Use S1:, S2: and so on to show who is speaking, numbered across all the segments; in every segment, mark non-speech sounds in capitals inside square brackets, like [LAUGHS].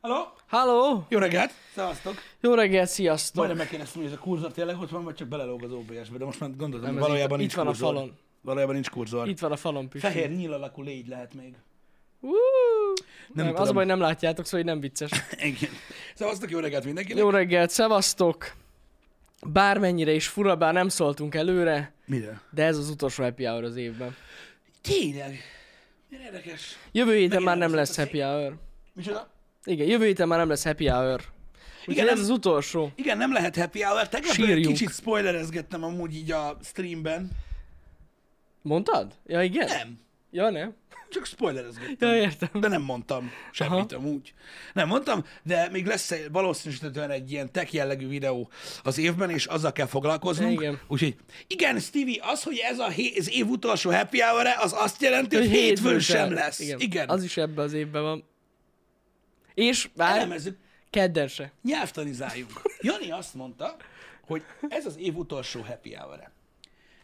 S1: Halló?
S2: Halló!
S1: Jó reggelt! Szevasztok!
S2: Jó reggelt, sziasztok!
S1: Majdnem megkérdeztem, hogy ez a kurzor tényleg ott van, vagy csak belelóg az OBS-be, de most már gondoltam,
S2: Nem,
S1: hogy
S2: ez
S1: valójában
S2: itt-
S1: nincs
S2: itt van a
S1: kurzor.
S2: falon.
S1: Valójában nincs kurzor.
S2: Itt van a falon püsti.
S1: Fehér nyíl alakú légy lehet
S2: [LAUGHS]
S1: még.
S2: Ú,
S1: Nem
S2: nem, nem az
S1: tudom.
S2: a baj, nem látjátok, szóval így nem vicces.
S1: Igen. Szevasztok, jó reggelt mindenkinek!
S2: Jó reggelt, szevasztok! Bármennyire is fura, bár nem szóltunk előre,
S1: Mire?
S2: de ez az utolsó happy hour az évben.
S1: Tényleg? Milyen érdekes.
S2: Jövő héten már nem
S1: Megjelent
S2: lesz
S1: az
S2: happy hour.
S1: Micsoda?
S2: Igen, jövő héten már nem lesz happy hour.
S1: Igen,
S2: Igen, ez
S1: nem-
S2: az utolsó.
S1: Igen, nem lehet happy hour. Tegnap egy
S2: Sírjunk.
S1: kicsit spoilerezgettem amúgy így a streamben.
S2: Mondtad? Ja, igen?
S1: Nem,
S2: Ja, nem?
S1: csak spoilerezgettem.
S2: Ja, értem.
S1: De nem mondtam semmit
S2: Aha.
S1: amúgy. Nem mondtam, de még lesz egy- valószínűsítetően egy ilyen tech jellegű videó az évben, és azzal kell foglalkoznunk.
S2: Igen.
S1: Úgyhogy igen, Stevie, az, hogy ez a hé- az év utolsó happy hour az azt jelenti, hogy
S2: Hogy
S1: hétfőn,
S2: hétfőn
S1: sem
S2: se-
S1: lesz. Igen.
S2: Igen.
S1: igen.
S2: Az is ebben az évben van. És várj,
S1: Elemezzük,
S2: kedden se.
S1: nyelvtanizáljunk. Jani azt mondta, hogy ez az év utolsó happy hour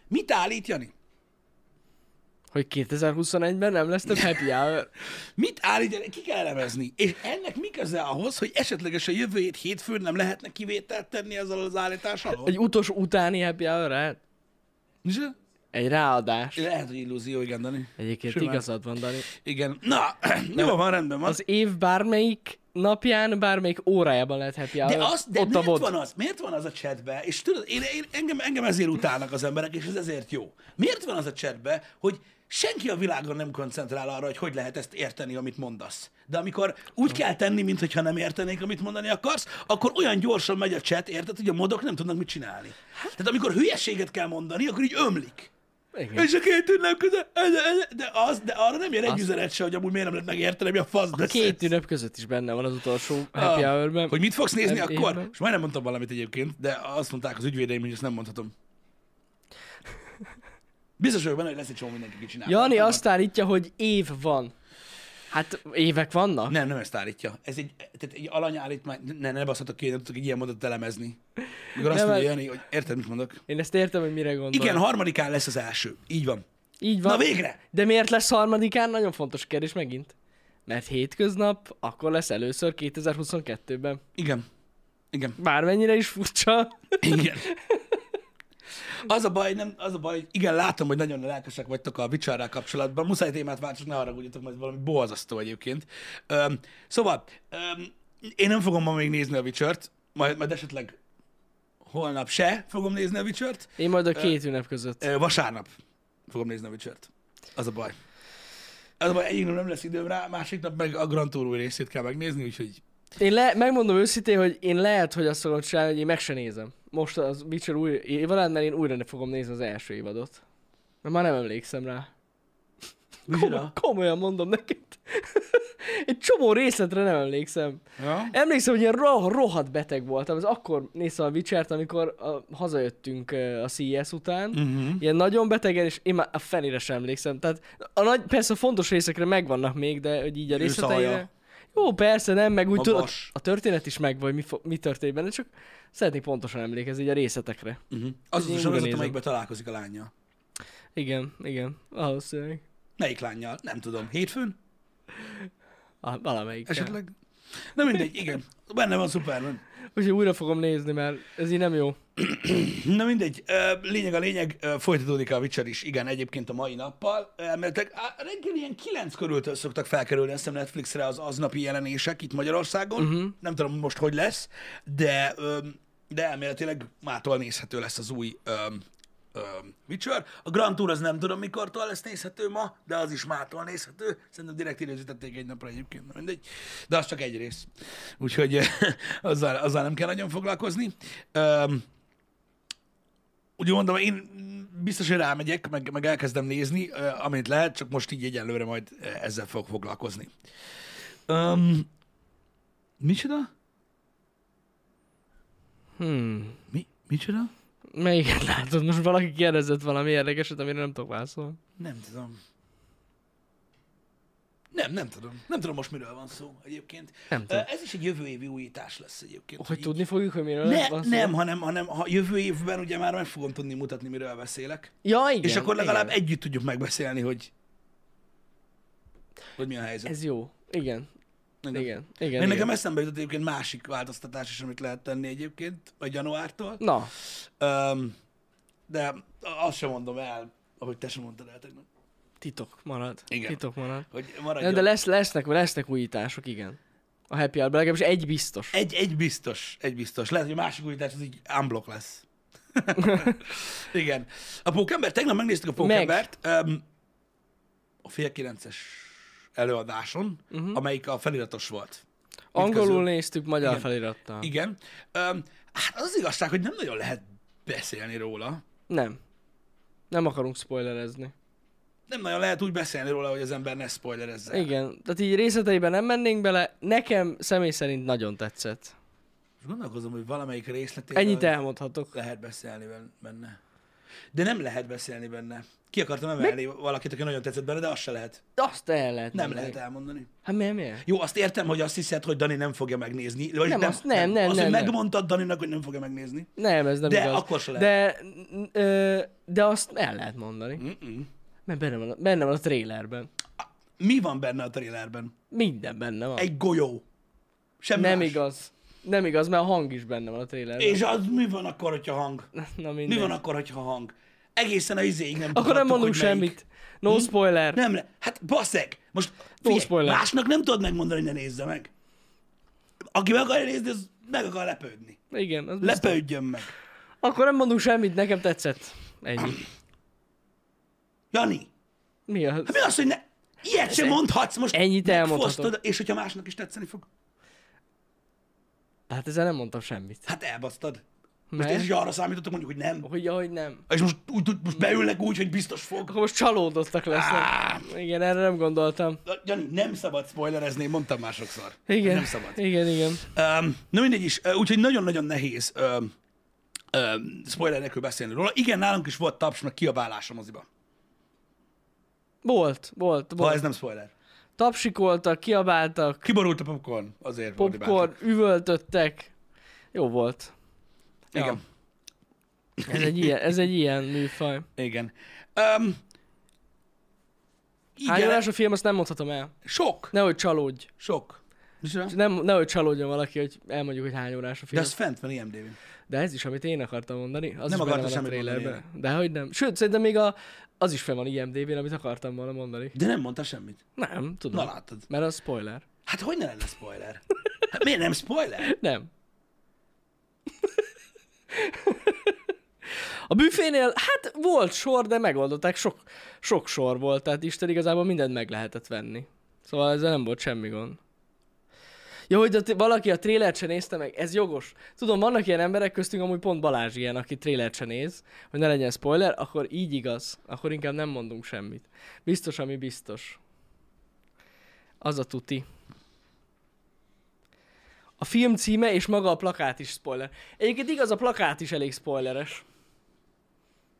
S1: Mit állít, Jani?
S2: Hogy 2021-ben nem lesz több happy hour.
S1: Mit állít, ki kell elemezni? És ennek mi köze ahhoz, hogy esetlegesen jövő hét hétfőn nem lehetne kivételt tenni ezzel az állítással?
S2: Egy utolsó utáni happy hour -re?
S1: Nincs-
S2: Egy ráadás.
S1: Lehet, hogy illúzió, igen, Dani.
S2: Egyébként
S1: Simán.
S2: igazad van, Dani.
S1: Igen. Na, [COUGHS] jó van, rendben van.
S2: Az év bármelyik napján, bármelyik órájában lehet happy hour.
S1: De, az, de
S2: ott a
S1: miért,
S2: bot.
S1: van az, miért van az a chatbe, és tudod, én, én, engem, engem ezért utálnak az emberek, és ez ezért jó. Miért van az a chatbe, hogy senki a világon nem koncentrál arra, hogy hogy lehet ezt érteni, amit mondasz. De amikor úgy kell tenni, mintha nem értenék, amit mondani akarsz, akkor olyan gyorsan megy a chat, érted, hogy a modok nem tudnak mit csinálni.
S2: Hát-
S1: Tehát amikor hülyeséget kell mondani, akkor így ömlik.
S2: Igen.
S1: És a két ünnep között, de, az, de arra nem jön egy üzenet se, hogy amúgy miért nem lehet megérteni, mi a fasz beszélsz.
S2: Két ünnep között is benne van az utolsó happy
S1: Ah,
S2: hour-ben.
S1: Hogy mit fogsz nézni
S2: Nem,
S1: akkor?
S2: évben.
S1: És majdnem mondtam valamit egyébként, de azt mondták az ügyvédeim, hogy ezt nem mondhatom. Biztos vagyok benne, hogy lesz egy csomó mindenki ki csinál.
S2: Jani
S1: Nem,
S2: azt állítja, hogy év van. Hát évek vannak?
S1: Nem, nem ezt állítja. Ez egy, tehát egy alanyállítmány. Ne, ne baszhatok ki, nem tudok egy ilyen mondatot elemezni. Mikor azt
S2: Nem,
S1: mondja Jani, hogy érted, mit mondok?
S2: Én ezt értem, hogy mire gondol.
S1: Igen, harmadikán lesz az első. Így van.
S2: Így van.
S1: Na végre!
S2: De miért lesz harmadikán? Nagyon fontos kérdés megint. Mert hétköznap, akkor lesz először 2022-ben.
S1: Igen. Igen.
S2: Bármennyire is furcsa.
S1: Igen. Az a baj, nem, az a baj, hogy igen, látom, hogy nagyon lelkesek vagytok a vicsárral kapcsolatban. Muszáj témát váltsunk, ne haragudjatok, mert ez valami borzasztó egyébként. Öm, szóval, öm, én nem fogom ma még nézni a vicsört, majd, majd esetleg holnap se fogom nézni a vicsört.
S2: Én majd a két ünnep között.
S1: Ö, vasárnap fogom nézni a vicsört. Az a baj. Az a baj, egyik nap nem lesz időm rá, másik nap meg a Grand Tour új részét kell megnézni, úgyhogy
S2: Én le, megmondom őszintén, hogy én lehet, hogy azt fogom csinálni, hogy én meg se nézem. Most az Witcher új évadát, mert én újra ne fogom nézni az első évadot. Mert már nem emlékszem rá. Komoly,
S1: Micsoda?
S2: komolyan mondom neked. [LAUGHS] Egy csomó részletre nem emlékszem.
S1: Ja.
S2: Emlékszem, hogy ilyen roh- rohadt beteg voltam. Ez akkor néztem a Witchert, amikor a, hazajöttünk ö, a CES után.
S1: Mhm.
S2: Ilyen nagyon betegen, és én már a felére sem emlékszem. Tehát a nagy, persze a fontos részekre megvannak még, de hogy így a
S1: szahaja.
S2: részleteire... Jó, persze, nem, meg úgy
S1: A
S2: tudod,
S1: vas.
S2: a történet is meg, vagy mi, fo- mi történt benne, csak szeretnék pontosan emlékezni így a részletekre.
S1: Uh-huh. Az az
S2: Én
S1: a
S2: újra
S1: sorozat,
S2: nézem.
S1: amelyikben találkozik a lánya.
S2: Igen, igen, valószínűleg.
S1: Melyik lányjal? Nem tudom. Hétfőn?
S2: Ah, valamelyik.
S1: Esetleg? Na mindegy, igen. Benne van Superman.
S2: Úgyhogy újra fogom nézni, mert ez így nem jó.
S1: [CLEARS THROAT] Na mindegy, ö, lényeg a lényeg, ö, folytatódik a Witcher is, igen, egyébként a mai nappal. Ö, Mert á, reggel ilyen kilenc körültől szoktak felkerülni, azt hiszem Netflixre az aznapi jelenések itt Magyarországon. Uh-huh. Nem tudom most, hogy lesz, de ö, de elméletileg mától nézhető lesz az új ö, ö, Witcher. A Grand Tour az nem tudom mikortól lesz nézhető ma, de az is mától nézhető. Szerintem direkt időzítették egy napra egyébként, na mindegy. De az csak egy rész. Úgyhogy ö, [LAUGHS] azzal, azzal nem kell nagyon foglalkozni. Ö, úgy mondom, én biztos, hogy rámegyek, meg, meg elkezdem nézni, ö, amint lehet, csak most így egyelőre majd ö, ezzel fogok foglalkozni. Um, micsoda?
S2: Hmm.
S1: Mi? Micsoda?
S2: Melyiket látod? Most valaki kérdezett valami érdekeset, amire nem tudok válaszolni.
S1: Nem tudom. Nem, nem tudom. Nem tudom most miről van szó egyébként.
S2: Nem
S1: Ö,
S2: tudom.
S1: Ez is egy jövő évi újítás lesz egyébként.
S2: Hogy
S1: így-
S2: tudni fogjuk, hogy miről
S1: Ne,
S2: van szó?
S1: nem, hanem, hanem ha jövő évben ugye már meg fogom tudni mutatni, miről beszélek.
S2: Ja, igen.
S1: És akkor legalább
S2: igen.
S1: együtt tudjuk megbeszélni, hogy hogy mi a helyzet.
S2: Ez jó. Igen.
S1: Igen.
S2: Igen, igen,
S1: Én
S2: igen.
S1: nekem eszembe jutott egyébként másik változtatás is, amit lehet tenni egyébként, vagy januártól.
S2: Na,
S1: Um, de azt sem mondom el, ahogy te sem mondtad el tegnap.
S2: titok marad.
S1: Igen.
S2: Titok marad.
S1: Hogy
S2: Nem,
S1: maradjon.
S2: de lesz, lesznek, lesznek újítások, igen. A happy hour legalábbis egy biztos.
S1: egy, egy biztos, egy biztos. Lehet, hogy a másik újítás az így unblock
S2: [LAUGHS]
S1: lesz. Igen. A pókember, tegnap megnéztük a pókembert. Um, a fél kilences előadáson,
S2: Mhm.
S1: uh-huh. amelyik a feliratos volt.
S2: Angolul
S1: közül.
S2: néztük, magyar
S1: Igen.
S2: felirattal.
S1: Igen. Um, hát az, az igazság, hogy nem nagyon lehet beszélni róla.
S2: Nem. Nem akarunk spoilerezni.
S1: Nem nagyon lehet úgy beszélni róla, hogy az ember ne spoilerezze.
S2: Igen, tehát így részleteiben nem mennénk bele. Nekem személy szerint nagyon tetszett.
S1: És gondolkozom, hogy valamelyik részletéről
S2: Ennyit elmondhatok.
S1: lehet beszélni ben- benne. De nem lehet beszélni benne. Ki akartam emelni valakit, aki nagyon tetszett benne, de azt se lehet.
S2: De azt el lehet
S1: Nem
S2: mondani.
S1: lehet elmondani.
S2: Hát miért, miért?
S1: Jó, azt értem, hogy azt hiszed, hogy Dani nem fogja megnézni. Vagy
S2: Nem, azt nem, nem,
S1: Azt,
S2: nem,
S1: hogy
S2: nem.
S1: megmondtad Daninak, hogy nem fogja megnézni.
S2: Nem, ez nem
S1: De
S2: igaz.
S1: akkor se lehet.
S2: De, n- ö, de azt el lehet mondani.
S1: Mm-mm.
S2: Mert benne van, a, benne van a trailerben.
S1: Mi van benne a trailerben?
S2: Minden benne van.
S1: Egy golyó. Semmi
S2: nem
S1: más.
S2: igaz. Nem igaz, mert a hang is benne van a trailerben.
S1: És az mi van akkor, hogyha hang?
S2: [LAUGHS]
S1: Mi
S2: Na minden.
S1: van akkor, hogyha hang? Egészen a izéig nem
S2: Akkor nem
S1: tudhattuk,
S2: mondunk
S1: hogy melyik. Hmm?
S2: semmit. No spoiler.
S1: Nem, le- hát baszeg! Most
S2: No
S1: figyelj,
S2: spoiler.
S1: másnak nem tudod megmondani, hogy ne nézze meg. Aki meg akarja nézni, az meg akar lepődni.
S2: Igen, az biztos.
S1: Lepődjön meg.
S2: Akkor nem mondunk semmit, nekem tetszett. Ennyi.
S1: Jani, hát
S2: Mi a...
S1: mi az, hogy ne... Ilyet sem mondhatsz most.
S2: ennyit
S1: megfosztod,
S2: elmondhatok.
S1: És hogyha másnak is tetszeni fog,
S2: Hát ezzel nem mondtam semmit.
S1: hát elbasztad. Most én
S2: Mert?
S1: is arra számítottak mondjuk, hogy nem.
S2: Hogy, ahogy nem.
S1: És most, úgy, tud- most beülnek úgy, hogy biztos fog.
S2: Akkor most csalódottak lesznek.
S1: Á,
S2: Igen, erre nem gondoltam.
S1: na, Jani, nem szabad spoilerezni, én mondtam már sokszor.
S2: Igen.
S1: Nem szabad.
S2: Igen, igen.
S1: Um, na mindegy is, ö, úgyhogy nagyon-nagyon nehéz um, um, spoiler nélkül beszélni róla. Igen, nálunk is volt taps, meg kiabálás a moziba.
S2: Volt, volt,
S1: Ha
S2: volt.
S1: ez nem spoiler.
S2: Tapsikoltak, kiabáltak,
S1: Kiborult a popcorn, azért volt
S2: popcorn, üvöltöttek. Jó volt.
S1: hibásak. Igen.
S2: Ez egy ilyen, ez egy ilyen műfaj.
S1: Igen. Um,
S2: Hány
S1: igen,
S2: órás a film, azt nem mondhatom el.
S1: sok,
S2: Nehogy csalódj.
S1: sok. Micsoda?
S2: Nem, nehogy csalódjon valaki, hogy elmondjuk, hogy hány órás a
S1: De
S2: film.
S1: az fent van imdb -n.
S2: De ez is, amit én akartam mondani, az
S1: Nem
S2: is benne
S1: akartál
S2: van
S1: semmit
S2: a trailerben. De hogy nem. Sőt, szerintem még a, az is fel van IMDb-n, amit akartam volna mondani.
S1: De nem mondta semmit.
S2: Nem, tudom.
S1: Na látod.
S2: Mert az spoiler.
S1: Hát hogy ne lenne spoiler? Hát miért nem spoiler?
S2: Nem. A büfénél, hát volt sor, de megoldották, sok, sok sor volt, tehát Isten igazából mindent meg lehetett venni. Szóval ezzel nem volt semmi gond. Ja, hogy a t- valaki a trélert se nézte meg, ez jogos. Tudom, vannak ilyen emberek köztünk, amúgy pont Balázs ilyen, aki trélert se néz, hogy ne legyen spoiler, akkor így igaz, akkor inkább nem mondunk semmit. Biztos, ami biztos. Az a tuti. A film címe és maga a plakát is spoiler. Egyébként igaz, a plakát is elég spoileres.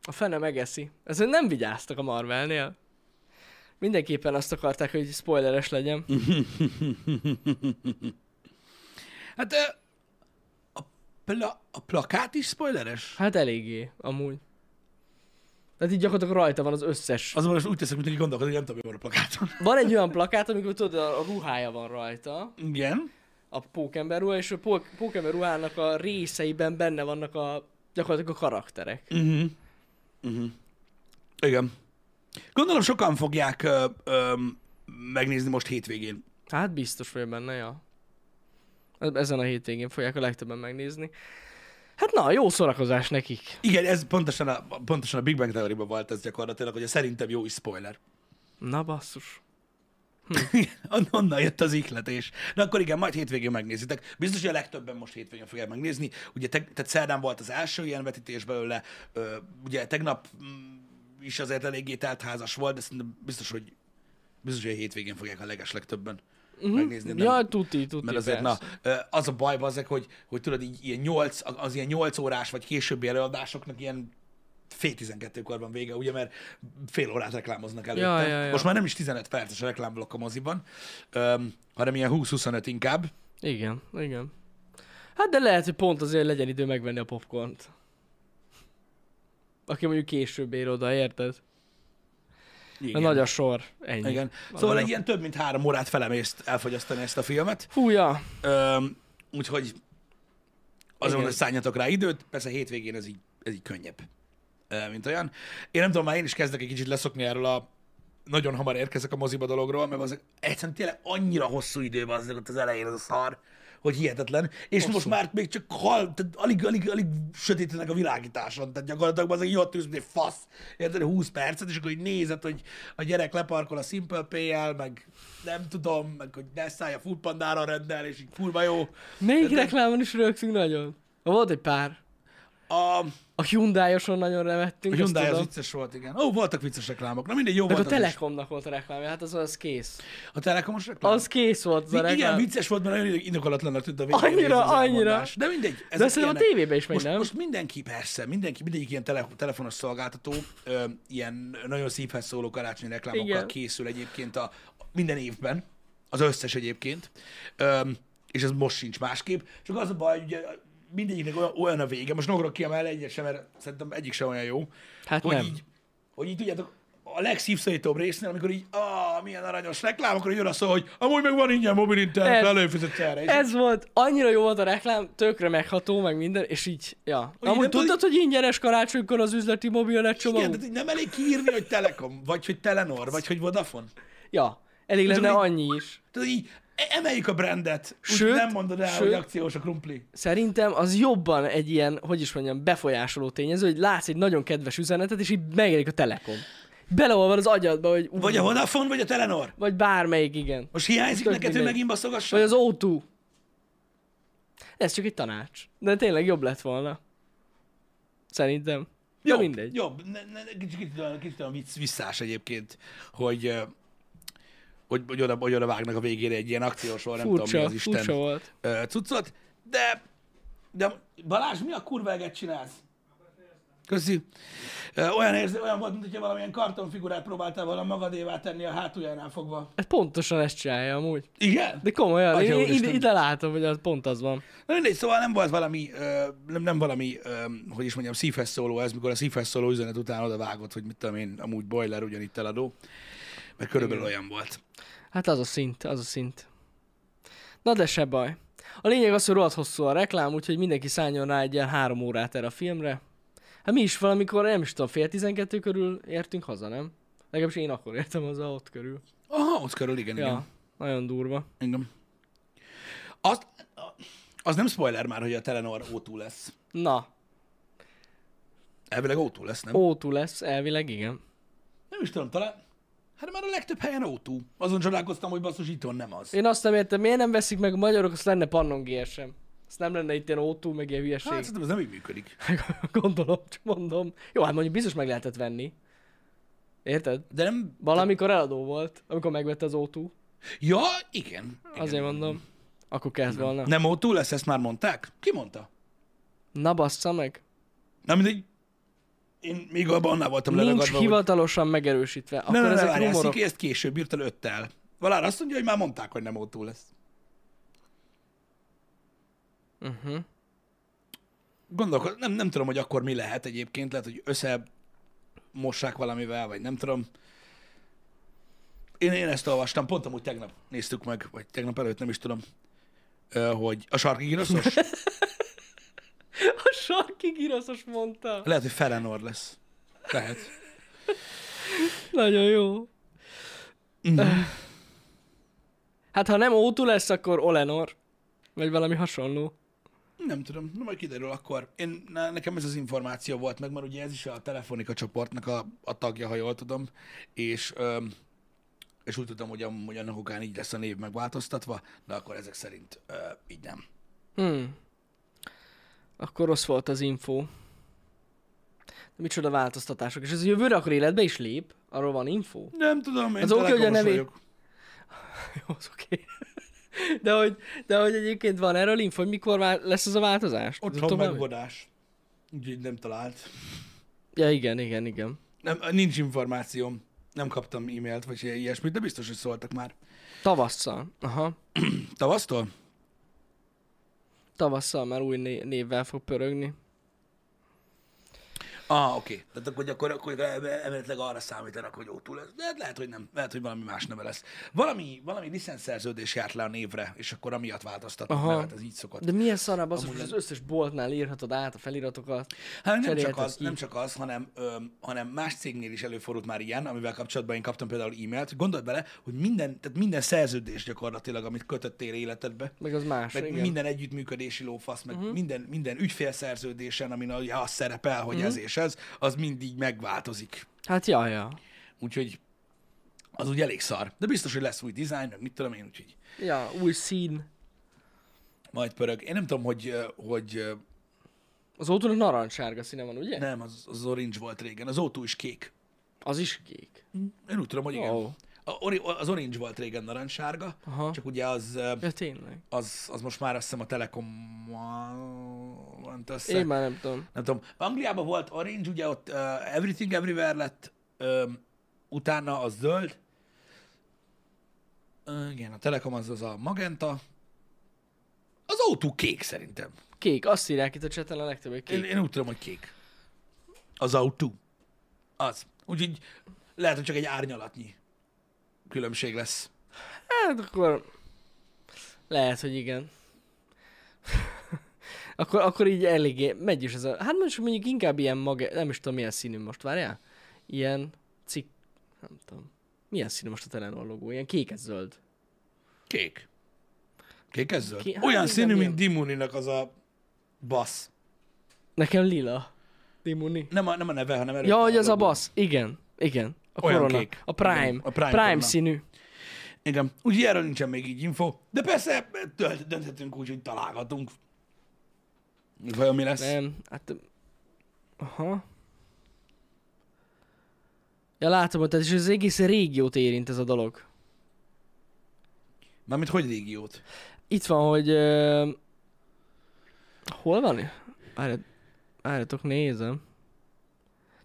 S2: A fene megeszi. Ezen nem vigyáztak a Marvelnél. Mindenképpen azt akarták, hogy spoileres legyen.
S1: Hát ö, a, pla- a plakát is spoileres?
S2: Hát eléggé, amúgy. Tehát így gyakorlatilag rajta van az összes.
S1: Azonban most úgy teszek, mint aki gondolkodik, nem tudom, mi van a plakáton.
S2: Van egy olyan plakát, amikor tudod, a a ruhája van rajta,
S1: Igen.
S2: a pókember ruha, és a pók- pókember ruhának a részeiben benne vannak a gyakorlatilag a karakterek.
S1: Uh-huh. Uh-huh. Igen. Gondolom sokan fogják ö, ö, megnézni most hétvégén.
S2: Hát biztos vagyok benne, ja. E- Ezen a hétvégén fogják a legtöbben megnézni. Hát na, jó szórakozás nekik.
S1: Igen, ez pontosan a, pontosan a Big Bang theory volt ez gyakorlatilag, hogy a szerintem jó is spoiler.
S2: Na basszus.
S1: [LAUGHS] On- Onnan jött az ihletés. Na akkor igen, majd hétvégén megnézitek. Biztos, hogy a legtöbben most hétvégén fogják megnézni. Ugye te, tehát szerdán volt az első ilyen vetítés belőle. Ö, ugye tegnap mm, is azért eléggé teltházas volt, de szerintem biztos, hogy biztos, hogy a hétvégén fogják a leges legtöbben uh-huh. megnézni. nem-
S2: Ja, tuti, tuti,
S1: Mert azért, na,
S2: persze.
S1: ö, az a baj, azek, hogy, hogy tudod, így, ilyen 8, az ilyen 8 órás vagy későbbi előadásoknak ilyen fél 12-kor van vége, ugye, mert fél órát reklámoznak előtte.
S2: Ja, ja, ja.
S1: Most már nem is 15 perces a reklámblokk a moziban, öm, hanem ilyen 20-25 inkább.
S2: Igen, igen. Hát de lehet, hogy pont azért legyen idő megvenni a popcornt. Aki mondjuk később ér oda, érted?
S1: Igen.
S2: Nagy a sor. Ennyi.
S1: Igen. Szóval egy ilyen több mint három órát felemészt elfogyasztani ezt a filmet.
S2: Húja.
S1: Öm, úgyhogy azon,
S2: Igen.
S1: hogy szálljatok rá időt, persze hétvégén ez így, ez így könnyebb, ö, mint olyan. Én nem tudom, már én is kezdek egy kicsit leszokni erről a nagyon hamar érkezek a moziba dologról, mert az egyszerűen tényleg annyira hosszú idő van ott az elején az a szar, hogy hihetetlen. És most már még csak hal, tehát alig, alig, alig sötétenek a világításon, tehát gyakorlatilag az egy tűz, mint egy fasz, érted, 20 percet, és akkor így nézed, hogy a gyerek leparkol a Simple Pay-el, meg nem tudom, meg hogy ne szállja futpandára rendel, és így kurva jó.
S2: Melyik reklámon is rögtünk nagyon? Volt egy pár.
S1: A,
S2: A Hyundai-oson nagyon revettünk.
S1: a
S2: azt
S1: Hyundai az
S2: tudom.
S1: vicces volt, igen. Ó, voltak vicces reklámok. Na mindegy, jó
S2: Meg
S1: volt
S2: a
S1: az is.
S2: Telekomnak volt a reklámja, hát az, az kész.
S1: A Telekomos reklám?
S2: Az kész volt az a
S1: Vi-
S2: reklám.
S1: igen, vicces volt, mert nagyon indokolatlanak tűnt a végén.
S2: Annyira,
S1: ez az
S2: annyira.
S1: elmondás. De mindegy. Ez
S2: De szerintem a tévében is megy,
S1: most,
S2: nem?
S1: Most mindenki, persze, mindenki, mindegyik ilyen tele, telefonos szolgáltató ö, ilyen nagyon szívhez szóló karácsonyi reklámokkal
S2: Igen.
S1: készül egyébként a, minden évben. Az összes egyébként. Ö, és ez most sincs másképp. Csak az a baj, hogy ugye mindegyiknek olyan, olyan a vége. Most nem akarok kiemelni egyet sem, mert szerintem egyik sem olyan jó.
S2: Hát
S1: hogy
S2: nem.
S1: Így, hogy így tudjátok, a legszívszorítóbb résznél, amikor így, ah, milyen aranyos reklám, akkor jön a szó, hogy amúgy meg van ingyen mobil internet,
S2: Ez-
S1: előfizetsz erre. És
S2: Ez volt, annyira jó volt a reklám, tökre megható, meg minden, és így, ja.
S1: Ugye,
S2: Amúgy
S1: nem
S2: tudtad, hogy ingyenes karácsonykor az üzleti mobilnet
S1: Igen,
S2: csomag?
S1: tehát így nem elég kiírni, hogy Telekom, vagy hogy Telenor, vagy hogy Vodafone.
S2: Ja, elég lenne
S1: így-
S2: annyi is.
S1: Tehát így e- emeljük a brandet, sőt,
S2: Sőt,
S1: nem mondod el, sőt, hogy
S2: sőt-
S1: akciós a krumpli.
S2: Szerintem az jobban egy ilyen, hogy is mondjam, befolyásoló tényező, hogy látsz egy nagyon kedves üzenetet, és így megjelenik a Telekom. Beleolvad az agyadba, hogy ú,
S1: Vagy a Vodafone, vagy a Telenor.
S2: vagy bármelyik, igen.
S1: Most hiányzik
S2: Tök
S1: neked, hogy
S2: mindegy.
S1: megint baszogasson?
S2: Vagy az O2. Ez csak egy tanács. De tényleg jobb lett volna. Szerintem. Jó,
S1: Jobb,
S2: mindegy.
S1: Jobb, ne, ne, kicsit, kicsit, olyan- kicsit olyan vicc, visszás egyébként, hogy, ö, hogy, hogy, oda, hogy oda vágnak a végére egy ilyen akciós, vagy nem tudom mi
S2: Furcsa,
S1: az Isten
S2: furcsa volt.
S1: ö, cuccot, de, de Balázs, mi a kurveget csinálsz? Köszi. Ö, Olyan, érzi, olyan volt, mintha valamilyen kartonfigurát próbáltál volna magadévá tenni a hátuljánál fogva.
S2: Hát pontosan ezt csinálja amúgy.
S1: Igen?
S2: De komolyan,
S1: Atya
S2: én, én
S1: úristen.
S2: ide, ide látom, hogy az pont az van.
S1: Na mindegy, szóval nem volt valami, ö, nem, nem valami, ö, hogy is mondjam, szívhez szóló ez, mikor a szívhez szóló üzenet után oda vágott, hogy mit tudom én, amúgy boiler, ugyanitt eladó. Mert körülbelül olyan volt.
S2: Hát az a szint, az a szint. Na de se baj. A lényeg az, hogy rohadt hosszú a reklám, úgyhogy mindenki szálljon rá egy ilyen három órát erre a filmre. Hát mi is valamikor, nem is tudom, fél tizenkettő körül értünk haza, nem? Legalábbis én akkor értem haza, ott körül.
S1: Aha, ott körül, igen,
S2: Ja,
S1: igen.
S2: nagyon durva.
S1: igen. Az, az nem spoiler már, hogy a Telenor O2 lesz.
S2: Na,
S1: Elvileg O2 lesz, nem?
S2: ó lesz, elvileg igen.
S1: Nem is tudom, talán... Hát már a legtöbb helyen O2. Azon csodálkoztam, hogy basszus itthon nem az.
S2: Én azt nem értem, miért nem veszik meg a magyarok, azt lenne Pannon GSM. Azt nem lenne itt ilyen ótú, meg ilyen hülyeség.
S1: Hát szerintem ez nem így működik.
S2: [LAUGHS] Gondolom, csak mondom. Jó, hát mondjuk biztos meg lehetett venni. Érted?
S1: De nem...
S2: Valamikor eladó volt, amikor megvette az O2.
S1: Ja, igen. igen.
S2: Azért mondom. Akkor kezd volna.
S1: Nem O2 lesz, ezt már mondták? Ki mondta?
S2: Na bassza meg.
S1: Na mindegy. Én még abban annál voltam
S2: Nincs
S1: leragadva, hogy...
S2: hivatalosan megerősítve. Akkor
S1: Nem, nem, nem,
S2: ezek
S1: várjál,
S2: rumorok.
S1: Sziki ezt később írt el öttel. Valár azt mondja, hogy már mondták, hogy nem O2 lesz.
S2: Uh-huh.
S1: Gondolkod, nem, nem tudom, hogy akkor mi lehet egyébként. Lehet, hogy össze mossák valamivel, vagy nem tudom. Én, én ezt olvastam, pont amúgy tegnap néztük meg, vagy tegnap előtt, nem is tudom, ö, hogy a sarki
S2: [LAUGHS]
S1: gyroszos?
S2: [LAUGHS] A sarki giraszos mondta.
S1: Lehet, hogy Felenor lesz. Lehet.
S2: Nagyon jó.
S1: Mhm.
S2: Hát ha nem Ótu lesz, akkor Olenor. Vagy valami hasonló.
S1: Nem tudom, na majd kiderül akkor. Én, na, nekem ez az információ volt meg, mert ugye ez is a Telefonika csoportnak a, a tagja, ha jól tudom, és, öm, és úgy tudom, hogy, am- hogy annak okán így lesz a név megváltoztatva, de akkor ezek szerint ö, így nem.
S2: Hmm. Akkor rossz volt az info. De micsoda változtatások. És ez jövőre akkor életbe is lép? Arról van
S1: [LAUGHS]
S2: info?
S1: Nem tudom, én
S2: Az oké, hogy a
S1: telekomos
S2: nevét-
S1: vagyok.
S2: Jó, az oké. De hogy, de hogy egyébként van erről info, hogy mikor vál, lesz az a változás? Tudod
S1: Otthon
S2: tovább?
S1: megoldás. Úgyhogy nem talált.
S2: Ja, igen, igen, igen.
S1: Nem, nincs információm. Nem kaptam e-mailt, vagy ilyesmit, de biztos, hogy szóltak már.
S2: Tavasszal. Aha.
S1: Tavasztól?
S2: Tavasszal már új né- névvel fog pörögni.
S1: Ah, oké. Okay. Tehát akkor, akkor, akkor emeletileg arra számítanak, hogy ótul lesz. De hát lehet, hogy nem. Lehet, hogy valami más neve lesz. Valami, valami licenszerződés járt le a névre, és akkor amiatt változtatnak,
S2: Aha.
S1: mert hát ez így szokott.
S2: De milyen szarabb az, hogy az összes boltnál írhatod át a feliratokat,
S1: Hát nem csak,
S2: cserélheted
S1: az,
S2: ki.
S1: nem csak az, hanem, öm, hanem más cégnél is előfordult már ilyen, amivel kapcsolatban én kaptam például e-mailt. Gondolj bele, hogy minden, tehát minden szerződés gyakorlatilag, amit kötöttél életedbe,
S2: Meg az más,
S1: meg
S2: igen. Mhm.
S1: minden együttműködési lófasz, meg uh-huh. minden, minden ügyfélszerződésen, amin ugye az szerepel,
S2: Mhm.
S1: hogy uh-huh. ez és ez, az mindig megváltozik.
S2: Hát ja, ja.
S1: Úgyhogy az úgy elég szar. De biztos, hogy lesz új dizájn, meg mit tudom én, úgyhogy
S2: Ja, új szín.
S1: majd pörög. Én nem tudom, hogy, ö, hogy ö,
S2: Az autónak narancssárga színe van, ugye?
S1: nem, az, az orange volt régen, az autó is kék.
S2: Az is kék.
S1: Én úgy tudom, hogy igen.
S2: Wow.
S1: A ori- az orange volt régen narancssárga,
S2: Aha.
S1: csak ugye az, ö,
S2: Ja, tényleg.
S1: az, az most már azt hiszem a Telekom van össze.
S2: Én már nem tudom.
S1: Nem tudom. Angliában volt orange, ugye ott uh, Everything Everywhere lett, um, utána az zöld. Uh, igen, a Telekom az az a magenta. Az autó kék szerintem.
S2: Kék, azt írják itt a cseten a legtöbb, hogy
S1: Én,
S2: kék.
S1: én úgy tudom, hogy kék. Az autó. Az. Úgyhogy lehet, hogy csak egy árnyalatnyi különbség lesz.
S2: Hát akkor... Lehet, hogy igen. [LAUGHS] akkor, akkor így eléggé megy is ez a... Hát most mondjuk inkább ilyen maga... Nem is tudom, milyen színű most, várjál? Ilyen cikk... Nem tudom. Milyen színű most a Telenor logó? Ilyen kékes zöld.
S1: Kék. Kék ez zöld?
S2: Ki- hát
S1: Olyan
S2: igen,
S1: színű, mint
S2: ilyen.
S1: Dimuninak az a bassz.
S2: Nekem lila. Dimuni.
S1: Nem a, nem a neve, hanem erről
S2: Ja, hogy
S1: van
S2: az a
S1: logó.
S2: basz. Igen. Igen. A
S1: Olyan
S2: korona.
S1: kék.
S2: A prime.
S1: Igen, a
S2: a
S1: Prime
S2: prime,
S1: korona.
S2: prime színű.
S1: Igen, úgyhogy erről nincsen még így info. De persze dölt- dönthetünk úgy, hogy találgatunk. Vajon mi lesz?
S2: Nem, hát... Aha. Ja, látom, hogy tehát is az egész régiót érint ez a dolog.
S1: Mármint hogy régiót?
S2: Itt van, hogy... Ö... Hol van? Várját, várjatok, nézem.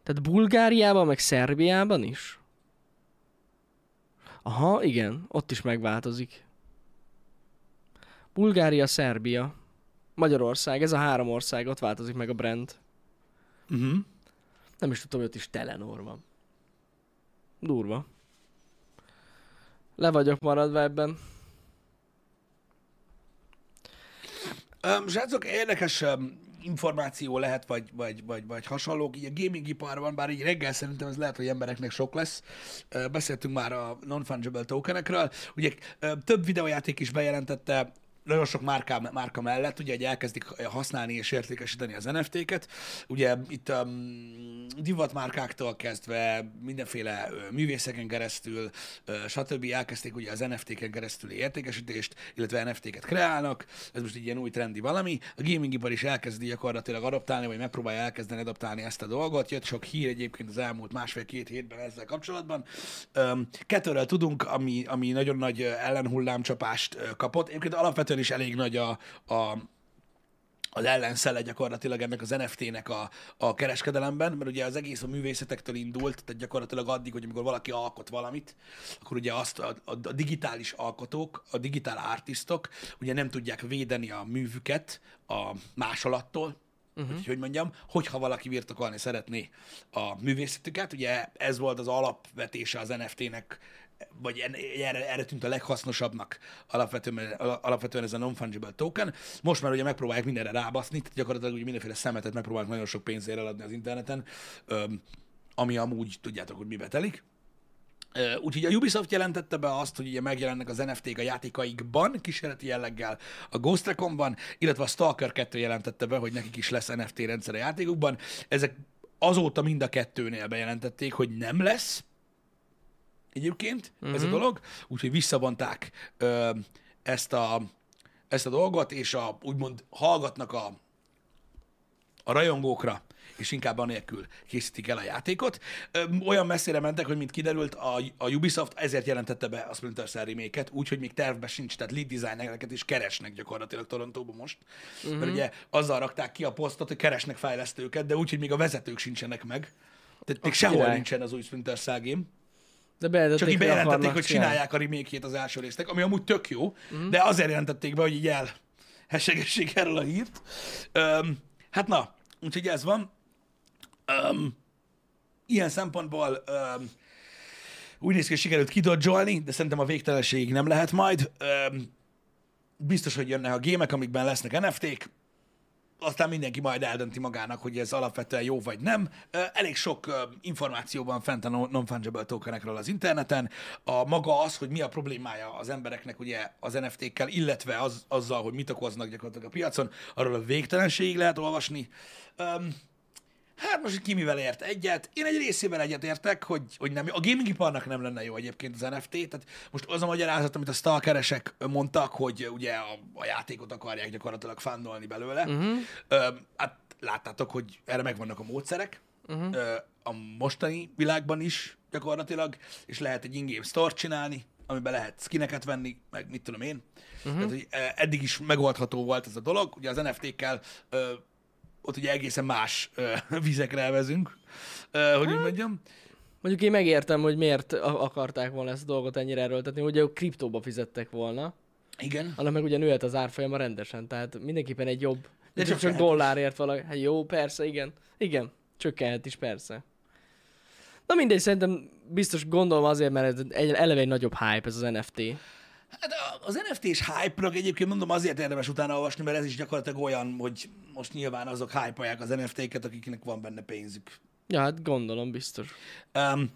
S2: Tehát Bulgáriában, meg Szerbiában is? Aha, igen, ott is megváltozik. Bulgária, Szerbia, Magyarország, ez a három ország, ott változik meg a brand.
S1: Uh-huh.
S2: Nem is tudtam, hogy ott is Telenor van. Durva. Le vagyok maradva ebben.
S1: Um, srácok, érdekes um, információ lehet, vagy, vagy, vagy, vagy hasonlók. Így a gaming iparban, bár így reggel szerintem ez lehet, hogy embereknek sok lesz. Uh, beszéltünk már a non-fungible tokenekről. Ugye uh, több videójáték is bejelentette nagyon sok márka, márka mellett, ugye, hogy elkezdik használni és értékesíteni az NFT-ket. Ugye itt um, divatmárkáktól kezdve, mindenféle ö, művészeken keresztül, ö, stb. elkezdték ugye az NFT-ken keresztüli értékesítést, illetve NFT-ket kreálnak, ez most így ilyen új trendi valami. A gamingipar is elkezdi gyakorlatilag adaptálni, vagy megpróbálja elkezdeni adaptálni ezt a dolgot. Jött sok hír egyébként az elmúlt másfél-két hétben ezzel kapcsolatban. Öm, Kettőről tudunk, ami, ami nagyon nagy ö, ellenhullámcsapást ö, kapott. Egyébként alapvetően is elég nagy a, a, az ellenszele gyakorlatilag ennek az NFT-nek a, a kereskedelemben, mert ugye az egész a művészetektől indult, tehát gyakorlatilag addig, hogy amikor valaki alkot valamit, akkor ugye azt a, a, a digitális alkotók, a digitál artistok ugye nem tudják védeni a művüket a másolattól, Uh-huh. Hogy, hogy mondjam, hogyha valaki birtokolni szeretné a művészetüket, ugye ez volt az alapvetése az NFT-nek, vagy en- erre, erre tűnt a leghasznosabbnak alapvetően, al- alapvetően ez a non-fungible token. Most már ugye megpróbálják mindenre rábaszni, tehát gyakorlatilag ugye mindenféle szemetet megpróbálnak nagyon sok pénzért eladni az interneten, öm, ami amúgy tudjátok, hogy mibe telik. Ö, Úgyhogy a Ubisoft jelentette be azt, hogy ugye megjelennek az NFT-k a játékaikban, kísérleti jelleggel a Ghost Reconban, illetve a Stalker 2 jelentette be, hogy nekik is lesz NFT rendszer a játékukban. Ezek azóta mind a kettőnél bejelentették, hogy nem lesz egyébként uh-huh. ez a dolog, úgyhogy visszavonták ö, ezt, a, ezt a dolgot, és a, úgymond hallgatnak a, a rajongókra, és inkább anélkül készítik el a játékot. Öm, Olyan messzire mentek, hogy mint kiderült, a, a Ubisoft ezért jelentette be a Splinter Cell remake-et, úgyhogy még tervbe sincs, tehát lead designereket is keresnek gyakorlatilag Torontóban most. Mm-hmm. Mert ugye azzal rakták ki a posztot, hogy keresnek fejlesztőket, de úgy, hogy még a vezetők sincsenek meg. Tehát még sehol
S2: király.
S1: nincsen az új Splinter Cell game.
S2: De bejelentették,
S1: Csak így
S2: hogy
S1: bejelentették,
S2: akarnak
S1: hogy
S2: csinálni.
S1: csinálják a remake az első résznek, ami amúgy tök jó, mm. de azért jelentették be, hogy így el [LAUGHS] hessegessék erről a hírt. Öm, hát na, úgyhogy ez van. Um, ilyen szempontból um, úgy néz ki, hogy sikerült kidodzsolni, de szerintem a végtelenségig nem lehet majd. Um, biztos, hogy jönnek a gémek, amikben lesznek NFT-k, aztán mindenki majd eldönti magának, hogy ez alapvetően jó vagy nem. Ö, Elég sok ö, információ van fent a non- non-fungible tokenekről az interneten. A maga az, hogy mi a problémája az embereknek ugye az NFT-kkel, illetve az, azzal, hogy mit okoznak gyakorlatilag a piacon, arról a végtelenségig lehet olvasni. Öm, Hát most hogy ki mivel ért egyet. Én egy részében egyet értek, hogy, hogy nem. A gamingiparnak nem lenne jó egyébként az NFT. Tehát most az a magyarázat, amit a stalkeresek mondtak, hogy ugye a, a játékot akarják gyakorlatilag fandolni belőle. Uh-huh. Ö, hát láttátok, hogy erre megvannak a módszerek. Uh-huh. Ö, a mostani világban is gyakorlatilag, és lehet egy in-game store csinálni, amiben lehet skineket venni, meg mit tudom én. Uh-huh. Tehát, hogy eh, eddig is megoldható volt ez a dolog. Ugye az NFT-kkel ö, ott ugye egészen más ö, [LAUGHS] vizekre elvezünk, ö, hogy úgy mondjam.
S2: Mondjuk én megértem, hogy miért a- akarták volna ezt a dolgot ennyire erőltetni, ugye ők kriptóba fizettek volna,
S1: Igen.
S2: annak meg ugye nőhet az árfolyama rendesen, tehát mindenképpen egy jobb, de
S1: csak
S2: csak, csak
S1: lehet
S2: dollárért valaki. Hát jó, persze, igen. Igen, csökkenhet is, persze. Na mindegy, szerintem biztos gondolom azért, mert ez egy, eleve egy nagyobb hype ez az NFT.
S1: Hát a- az NFT-s hype-nak egyébként mondom azért érdemes utána olvasni, mert ez is gyakorlatilag olyan, hogy most nyilván azok hype az NFT-ket, akiknek van benne pénzük.
S2: Ja, hát gondolom, biztos.
S1: Um,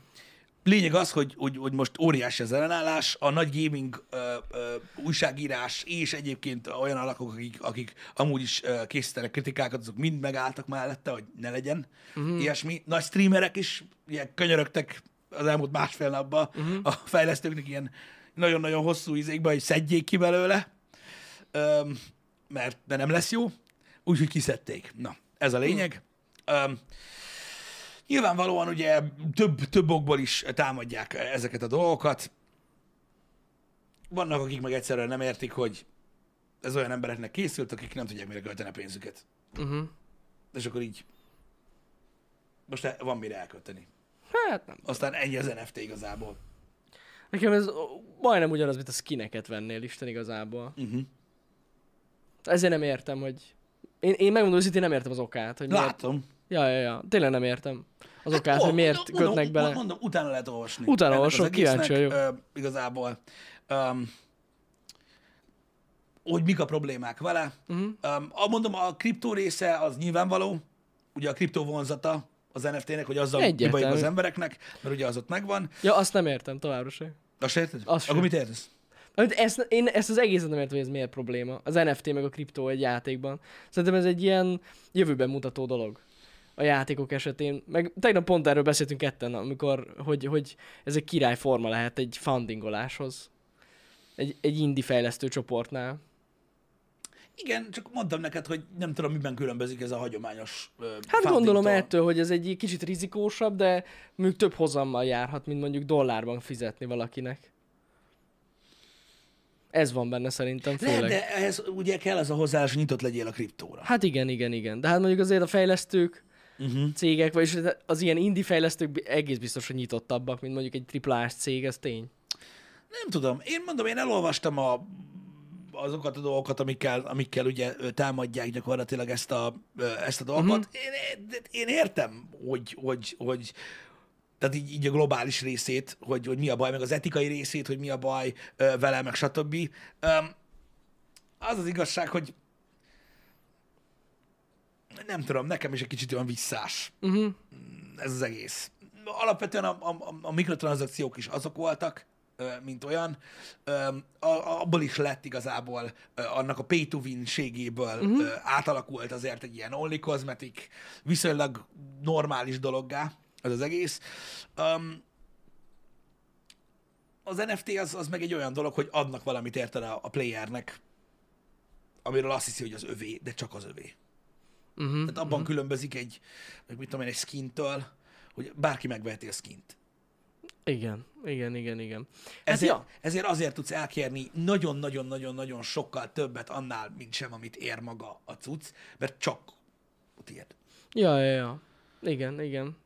S1: lényeg az, hogy, hogy, hogy most óriási az ellenállás, a nagy gaming ö, ö, újságírás és egyébként olyan alakok, akik, akik amúgy is ö, készítenek kritikákat, azok mind megálltak mellette, hogy ne legyen mm-hmm. ilyesmi. Nagy streamerek is ilyen könyörögtek az elmúlt másfél napban mm-hmm. a fejlesztőknek ilyen nagyon-nagyon hosszú izékbe, hogy szedjék ki belőle, Öm, mert de nem lesz jó, úgyhogy kiszedték. Na, ez a lényeg. Öm, nyilvánvalóan ugye több, több okból is támadják ezeket a dolgokat. Vannak, akik meg egyszerűen nem értik, hogy ez olyan embereknek készült, akik nem tudják, mire költeni a pénzüket.
S2: Uh-huh.
S1: És akkor így most el- van mire elkölteni.
S2: Hát nem.
S1: Aztán ennyi az NFT igazából.
S2: Nekem ez ó, majdnem ugyanaz, mint a skineket vennél, Isten igazából.
S1: Uh-huh.
S2: Ezért nem értem, hogy... Én, én megmondom őszintén, nem értem az okát, hogy miért...
S1: Látom.
S2: Ja, ja, ja. Tényleg nem értem az okát, hogy miért
S1: mondom,
S2: kötnek bele.
S1: Mondom, utána lehet olvasni.
S2: Utána
S1: ennek
S2: olvasom,
S1: az egésznek,
S2: kíváncsi vagyok.
S1: ö, Igazából. Um, hogy mik a problémák vele.
S2: Mhm.
S1: Uh-huh. Um, mondom, a kriptó része az nyilvánvaló, ugye a kriptó vonzata az NFT-nek, hogy azzal mi
S2: Egyértelmű.
S1: baj van az embereknek, mert ugye az ott megvan.
S2: Ja, azt nem értem továbbra sem.
S1: Azt se érted?
S2: Azt se.
S1: Akkor mit értesz?
S2: Amit Hát Ezt, én ezt az egészet nem értem, hogy ez miért probléma. Az NFT meg a kriptó egy játékban. Szerintem ez egy ilyen jövőben mutató dolog a játékok esetén. Meg tegnap pont erről beszéltünk ketten, amikor, hogy, hogy ez egy királyforma lehet egy fundingoláshoz. Egy, egy indie fejlesztő csoportnál. Hát
S1: Igen, csak mondtam neked, hogy nem tudom, miben különbözik ez a hagyományos uh,
S2: Hát gondolom ettől, hogy ez egy ilyen kicsit rizikósabb, de mondjuk több hozammal járhat, mint mondjuk dollárban fizetni valakinek. Ez van benne szerintem főleg.
S1: Lehet, de ehhez ugye kell az a hozzáállás, hogy nyitott legyél a kriptóra.
S2: Hát igen, igen, igen. De hát mondjuk azért a fejlesztők, uh-huh. cégek, vagyis az ilyen indie fejlesztők bi- egész biztos, hogy nyitottabbak, mint mondjuk egy triplás cég, ez tény.
S1: Nem tudom. Én mondom, én elolvastam a, azokat a dolgokat, amikkel, amikkel ugye ö, támadják gyakorlatilag ezt a, ö, ezt a dolgot. Uh-huh. Én, de én értem, hogy, hogy, hogy tehát így, így a globális részét, hogy, hogy mi a baj, meg az etikai részét, hogy mi a baj ö, vele, meg stb. Öm, Az az igazság, hogy nem tudom, nekem is egy kicsit olyan visszás
S2: Uh-huh.
S1: ez az egész. Alapvetően a, a, a- a mikrotranszakciók is azok voltak, ö, mint olyan, Ö, a- a- abból is lett igazából ö, annak a pay to win-ségéből uh-huh. átalakult azért egy ilyen only cosmetic, viszonylag normális dologgá ez az egész. Öm, Az NFT az, az meg egy olyan dolog, hogy adnak valamit érted a, a playernek, amiről azt hiszi, hogy az övé, de csak az övé.
S2: Uh-huh.
S1: Tehát abban különbözik egy, vagy mit tudom én, egy skintől, hogy bárki megveheti a skint.
S2: Igen, igen, igen, igen. Hát
S1: Ezért,
S2: ja.
S1: ezért azért tudsz elkérni nagyon-nagyon-nagyon-nagyon sokkal többet annál, mint sem, amit ér maga a cucc, mert csak a tiéd.
S2: Ja, ja, ja. Igen, igen.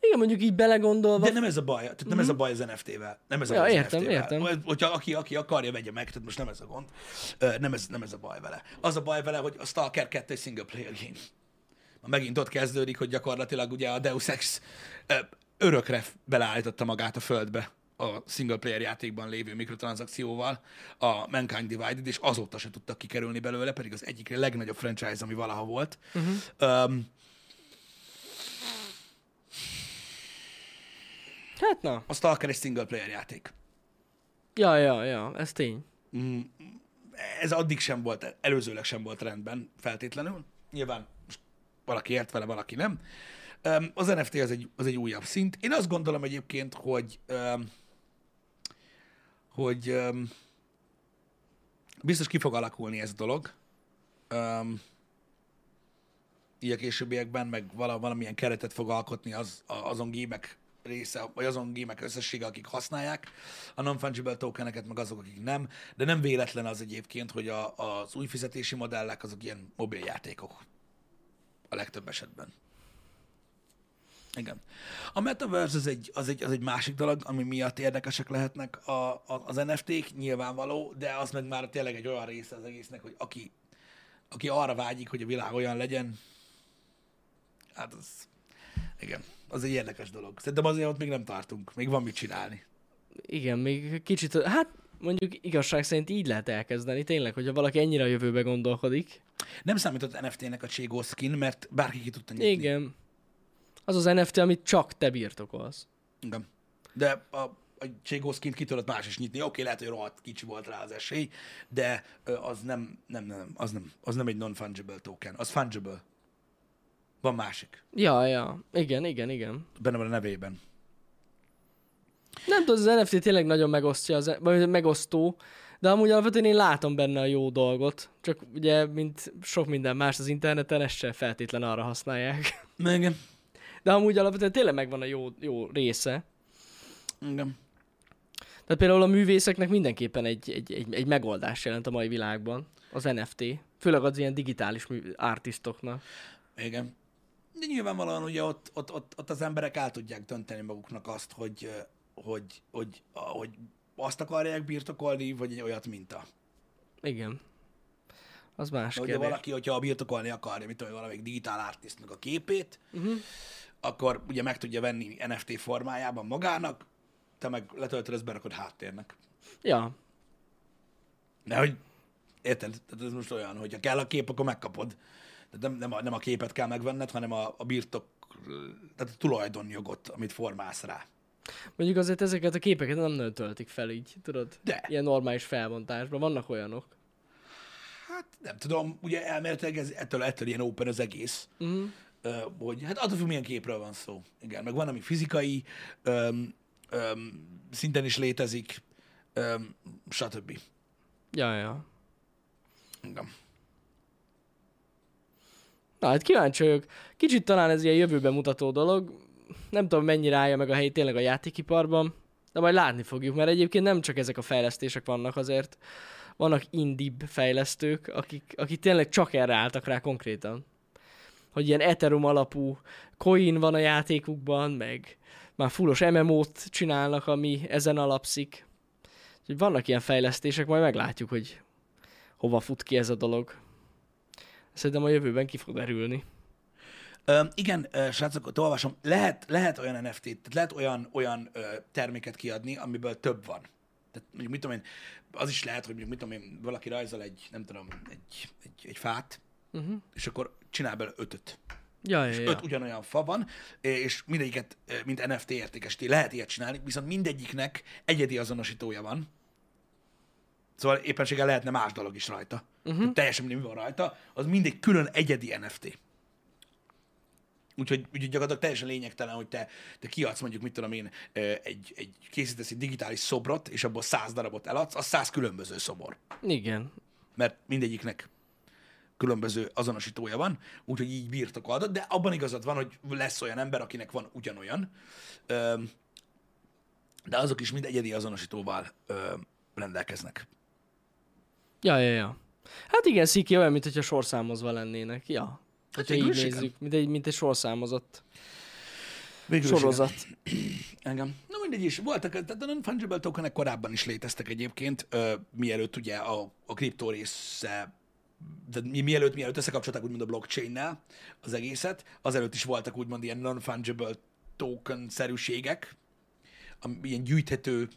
S2: Igen, mondjuk így belegondolva.
S1: De nem ez a baj, tehát nem ez a baj az NFT-vel. Nem ez a
S2: Mhm. Ja,
S1: baj az
S2: értem,
S1: NFT-vel.
S2: értem.
S1: Vagy- Hogyha aki, aki akarja, vegye meg, tehát most nem ez a gond. Ö, Nem ez, nem ez a baj vele. Az a baj vele, hogy a Stalker 2 egy single player game. megint ott kezdődik, hogy gyakorlatilag ugye a Deus Ex ö, örökre f- beleállította magát a földbe a single player játékban lévő mikrotranszakcióval a Mankind Divided, és azóta se tudtak kikerülni belőle, pedig az egyik legnagyobb franchise, ami valaha volt.
S2: Mhm.
S1: Uh-huh. Um,
S2: Hát na.
S1: a Stalker egy single player játék.
S2: Ja, ja, ja, ez tény.
S1: ez addig sem volt, előzőleg sem volt rendben feltétlenül. Nyilván most valaki ért vele, valaki nem. Öm, Az NFT az egy, az egy újabb szint. Én azt gondolom egyébként, hogy öm, hogy öm, biztos ki fog alakulni ez a dolog. Öm, így a későbbiekben, meg vala- valamilyen keretet fog alkotni az, a- azon gémek része, vagy azon gémek összessége, akik használják a non-fungible tokeneket, meg azok, akik nem. De nem véletlen az egyébként, hogy a, az új fizetési modellek azok ilyen mobiljátékok a legtöbb esetben. Igen. A Metaverse az egy, az egy, az egy másik dolog, ami miatt érdekesek lehetnek a, a, az NFT-k, nyilvánvaló, de az meg már tényleg egy olyan része az egésznek, hogy aki, aki arra vágyik, hogy a világ olyan legyen, hát az, igen, az egy érdekes dolog. Szerintem azért ott még nem tartunk, még van mit csinálni.
S2: Igen, még kicsit, hát mondjuk igazság szerint így lehet elkezdeni, tényleg, hogyha valaki ennyire a jövőbe gondolkodik.
S1: Nem számított NFT-nek a Cségó skin, mert bárki ki tudta nyitni.
S2: Igen. Az az NFT, amit csak te birtokolsz.
S1: Igen. De a, a Cségó skin ki tudott más is nyitni. Oké, okay, lehet, hogy rohadt kicsi volt rá az esély, de ö, az nem, nem, nem, az nem, az nem egy non-fungible token, az fungible. Van másik.
S2: Ja, ja, igen, igen, igen.
S1: Benne van a nevében.
S2: Nem tudom, az NFT tényleg nagyon megosztja, az, e- vagy megosztó, de amúgy alapvetően én látom benne a jó dolgot. Csak ugye, mint sok minden más az interneten, ezt sem feltétlen arra használják. [LAUGHS]
S1: Igen.
S2: De amúgy alapvetően tényleg megvan a jó, jó része.
S1: Igen.
S2: Tehát például a művészeknek mindenképpen egy, egy, egy, egy megoldás jelent a mai világban az NFT. Főleg az ilyen digitális mű, artistoknak.
S1: Igen. De nyilvánvalóan ugye ott, ott, ott, ott az emberek el tudják dönteni maguknak azt, hogy, ö, hogy, hogy, a- hogy azt akarják birtokolni, vagy egy olyat minta.
S2: Igen. Az más
S1: Na,
S2: kérdés.
S1: ugye valaki, hogyha birtokolni akarja, mit tudom, én, valamelyik digitál artistnak a képét, uh-huh. akkor ugye meg tudja venni NFT formájában magának, te meg letöltöd, ezt berakod háttérnek.
S2: Ja,
S1: Nehogy, érted? Tehát ez most olyan, hogyha kell a kép, akkor megkapod. Tehát nem, nem, a, nem a képet kell megvenned, hanem a, a birtok, tehát a tulajdonjogot, amit formálsz rá.
S2: Mondjuk azért ezeket a képeket nem nagyon töltik fel így, tudod?
S1: De.
S2: Ilyen normális felbontásban. Vannak olyanok.
S1: Hát nem tudom, ugye elméletileg ez, ettől, ettől ilyen open az egész. Uh-huh. Hogy, hát attól függ, milyen képről van szó. Igen, meg van, ami fizikai, öm, öm, szinten is létezik, öm, stb.
S2: Ja, ja.
S1: Igen.
S2: Na, hát kíváncsi vagyok. Kicsit talán ez ilyen jövőben mutató dolog. Nem tudom, mennyire állja meg a helyét tényleg a játékiparban, de majd látni fogjuk, mert egyébként nem csak ezek a fejlesztések vannak azért. Vannak indibb fejlesztők, akik, akik tényleg csak erre álltak rá konkrétan. Hogy ilyen Ethereum alapú coin van a játékukban, meg már fullos MMO-t csinálnak, ami ezen alapszik. Úgyhogy vannak ilyen fejlesztések, majd meglátjuk, hogy hova fut ki ez a dolog. Szerintem a jövőben ki fog derülni.
S1: Öm, igen, ö, srácok, ott olvasom, lehet, lehet olyan NFT-t, tehát lehet olyan, olyan ö, terméket kiadni, amiből több van. Tehát mondjuk, mit tudom én, az is lehet, hogy mondjuk, mit tudom én, valaki rajzol egy, nem tudom, egy, egy, egy fát, uh-huh. és akkor csinál belőle ötöt.
S2: Ja, ja,
S1: és
S2: ja.
S1: öt ugyanolyan fa van, és mindegyiket, ö, mint NFT értékesíti. Lehet ilyet csinálni, viszont mindegyiknek egyedi azonosítója van. Szóval éppenséggel lehetne más dolog is rajta. Uh-huh. Tehát teljesen mindegy, mi van rajta, az mindegy külön egyedi NFT. Úgyhogy, úgyhogy gyakorlatilag teljesen lényegtelen, hogy te, te kiadsz mondjuk, mit tudom én, ö, egy, egy, készítesz egy digitális szobrot, és abból száz darabot eladsz, az száz különböző szobor
S2: Igen.
S1: mert mindegyiknek különböző azonosítója van, úgyhogy így bírtak adat, de abban igazad van, hogy lesz olyan ember, akinek van ugyanolyan, öm, de azok is mind egyedi azonosítóval öm, rendelkeznek.
S2: Ja, ja, ja. Hát igen, Sziki olyan, mint hogyha sorszámozva lennének. Ja. Hogyha így
S1: végül is igen.
S2: nézzük, mint egy, mint egy sorszámozott
S1: Végül is
S2: sorozat.
S1: Engem. Na mindegy is, voltak, tehát a non-fungible tokenek korábban is léteztek egyébként, ö, mielőtt ugye a, a kriptó része de mi- mielőtt, mielőtt összekapcsolták úgymond a blockchain-nel az egészet, azelőtt is voltak úgymond ilyen non-fungible token-szerűségek, am- ilyen gyűjthető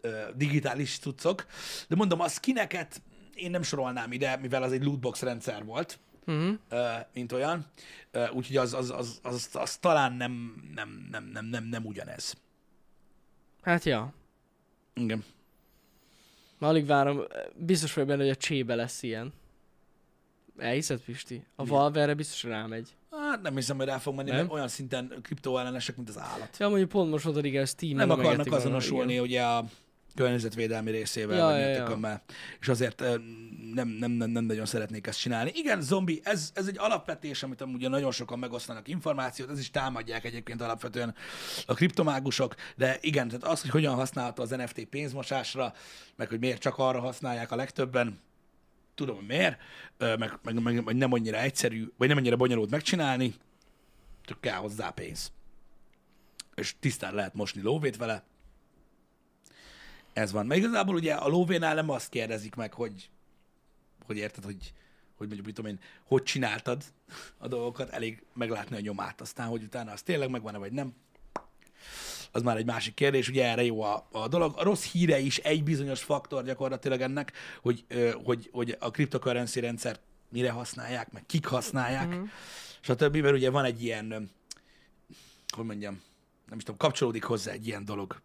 S1: ö, digitális cuccok. De mondom, a skineket én nem sorolnám ide, mivel az egy lootbox rendszer volt, uh-huh. mint olyan. Ö, Úgyhogy az, az, az, az, az, az talán nem, nem, nem, nem, nem, nem ugyanez.
S2: Hát ja.
S1: Igen.
S2: Már alig várom, biztos vagy benne, hogy a csébe lesz ilyen. Elhiszed, Pisti? A Valve erre biztos rámegy.
S1: Hát nem hiszem, hogy rá fog menni,
S2: Nem?
S1: mert olyan szinten kriptoellenesek, mint az állat.
S2: Ja, mondjuk pont most mondtad, igen, a Steam-en
S1: Nem
S2: emegetik
S1: akarnak
S2: valami,
S1: azonosulni
S2: igen.
S1: ugye a környezetvédelmi részével,
S2: Ja,
S1: ja, vagy
S2: ja,
S1: ja,
S2: ja.
S1: ja. és azért ö, nem, nem, nem, nem nagyon szeretnék ezt csinálni. Igen, zombi, ez, ez egy alapvetés, amit amúgy nagyon sokan megosztanak információt, ez is támadják egyébként alapvetően a kriptomágusok, de igen, tehát az, hogy hogyan használható az NFT pénzmosásra, meg hogy miért csak arra használják a legtöbben, tudom, hogy miért, ö, meg, meg, meg, meg nem annyira egyszerű, vagy nem annyira bonyolult megcsinálni, csak kell hozzá pénz. És tisztán lehet mosni lóvét vele. Ez van. Mert igazából ugye a lóvénál nem azt kérdezik meg, hogy, hogy érted, hogy, hogy mondjuk, mit tudom én, hogy csináltad a dolgokat, elég meglátni a nyomát. Aztán, hogy utána az tényleg megvan-e, vagy nem, az már egy másik kérdés, ugye erre jó a, a dolog. A rossz híre is egy bizonyos faktor gyakorlatilag ennek, hogy, ö, hogy, hogy a cryptocurrency rendszer mire használják, meg kik használják, uh-huh. stb. Mert ugye van egy ilyen, ö, hogy mondjam, nem is tudom, kapcsolódik hozzá egy ilyen dolog,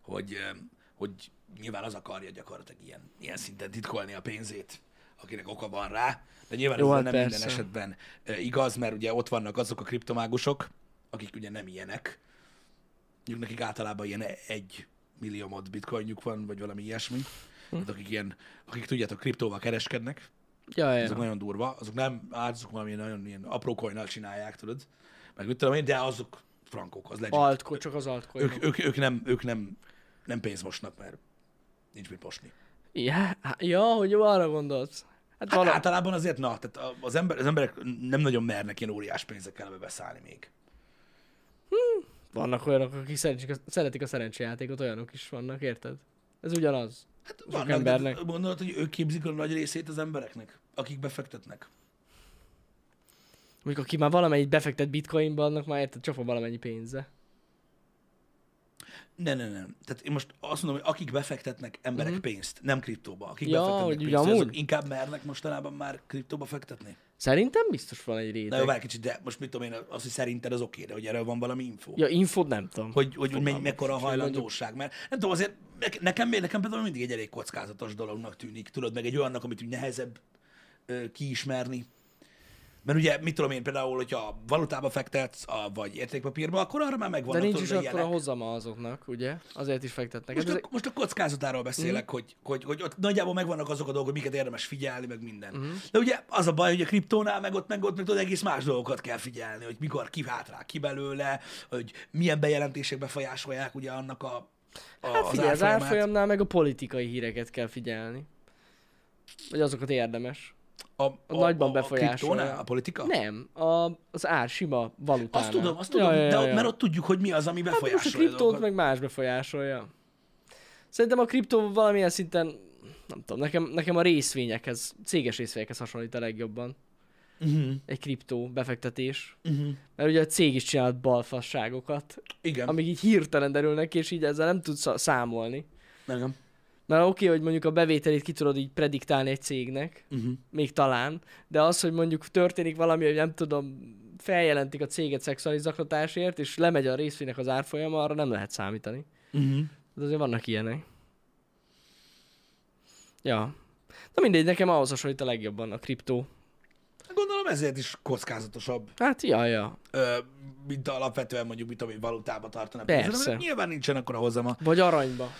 S1: hogy, ö, hogy nyilván az akarja gyakorlatilag ilyen, ilyen szinten titkolni a pénzét, akinek oka van rá, de nyilván
S2: Jó,
S1: ez
S2: hát
S1: nem minden
S2: persze.
S1: esetben ö, igaz, mert ugye ott vannak azok a kriptomágusok, akik ugye nem ilyenek, mondjuk nekik általában ilyen egy milliómod bitcoinjuk van, vagy valami ilyesmi.
S2: Hm.
S1: Hát akik ilyen, akik tudjátok, kriptóval kereskednek,
S2: Ja, ja.
S1: azok nagyon durva, azok nem, hát azok valami nagyon ilyen apró coinnal csinálják, tudod, meg mit tudom én, de azok frankok, az legit.
S2: Altcoin, csak az altcoin.
S1: Ők, ők, ők, nem, ők nem, nem pénzmosnak, mert nincs mit mosni.
S2: Ja, há- ja, hogy jó, arra gondolsz. Hát,
S1: Hát
S2: hát
S1: általában azért, na, tehát a- az, ember, az emberek nem nagyon mernek ilyen óriás pénzekkel ebbe beszállni még.
S2: vannak olyanok, akik szeretik a, szeretik a szerencsejátékot, olyanok is vannak, érted? Ez ugyanaz.
S1: Hát
S2: Sok
S1: vannak, embernek.
S2: embernek.
S1: De gondolod, hogy ők képzik a nagy részét az embereknek, akik befektetnek.
S2: Mondjuk aki már valamennyit befektet bitcoinba, annak már érted, csak van valamennyi pénze.
S1: Ne, ne, ne. Tehát én most azt mondom, hogy akik befektetnek emberek uh-huh. pénzt, nem kriptóba, akik
S2: Mhm. Ja,
S1: befektetnek
S2: hogy
S1: pénzt,
S2: ugyanúgy?
S1: azok inkább mernek mostanában már kriptóba fektetni.
S2: Szerintem biztos van egy
S1: Na jó,
S2: réteg.
S1: várj kicsit, de most mit tudom én, az, hogy szerinted az oké, de hogy erről van valami info.
S2: Ja, infót nem tudom.
S1: Hogy, hogy, hogy mennyi,
S2: Fogalmam
S1: mekkora a
S2: sincs, hogy
S1: hajlandóság, mert nem tudom, azért nek- nekem, nekem például mindig egy elég kockázatos dolognak tűnik, tudod, meg egy olyannak, amit úgy nehezebb ö, kiismerni. Mert ugye, mit tudom én, például, hogyha valutába fektetsz, a, vagy értékpapírba, akkor arra már megvan.
S2: De nincs is
S1: ilyenek.
S2: akkor a hozama azoknak, ugye? Azért is fektetnek. Hát
S1: Most
S2: Ez-
S1: a, most a kockázatáról beszélek,
S2: Mhm.
S1: mm. hogy, hogy, hogy ott nagyjából megvannak azok a dolgok, hogy miket érdemes figyelni, meg minden.
S2: Mhm.
S1: Mm. De ugye az a baj, hogy a kriptónál, meg ott, meg ott, meg tudod, egész más dolgokat kell figyelni, hogy mikor ki vált rá, ki belőle, hogy milyen bejelentések befolyásolják ugye annak a, a
S2: Hát figyelj, az
S1: árfolyamát.
S2: árfolyamnál meg a politikai híreket kell figyelni. Vagy azokat érdemes.
S1: A, a,
S2: nagyban
S1: a, a
S2: befolyásolja.
S1: kriptónál, a politika?
S2: Nem, a, az ár sima valutánál.
S1: Azt tudom, azt tudom, ja, ja, ja. de ott, mert ott tudjuk, hogy mi az, ami
S2: hát most a
S1: befolyásolja a
S2: kriptót
S1: dolgokat.
S2: meg más befolyásolja. Szerintem a kriptó valamilyen szinten, nem tudom, nekem, nekem a részvényekhez, céges részvényekhez hasonlít a legjobban.
S1: Uh-huh,
S2: Egy kriptó befektetés.
S1: uh-huh.
S2: Mert ugye a cég is csinált balfasságokat,
S1: Igen,
S2: amik így hirtelen derülnek, és így ezzel nem tudsz szá- számolni.
S1: igen.
S2: Mert oké, okay, hogy mondjuk a bevételét ki tudod így prediktálni egy cégnek,
S1: Uh-huh.
S2: még talán, de az, hogy mondjuk történik valami, hogy nem tudom, feljelentik a céget szexuális zaklatásért, és lemegy a részvénynek az árfolyama, arra nem lehet számítani.
S1: Uh-huh.
S2: De azért vannak ilyenek. Ja. Na mindegy, nekem ahhoz hasonlít a legjobban a kriptó.
S1: Hát Gondolom ezért is kockázatosabb
S2: Hát, ja, ja.
S1: ö, mint alapvetően mondjuk, mit tudom én, valutába tartana. pénzed,
S2: Persze.
S1: mert Nyilván nincsen akkor a hozama.
S2: Vagy aranyba.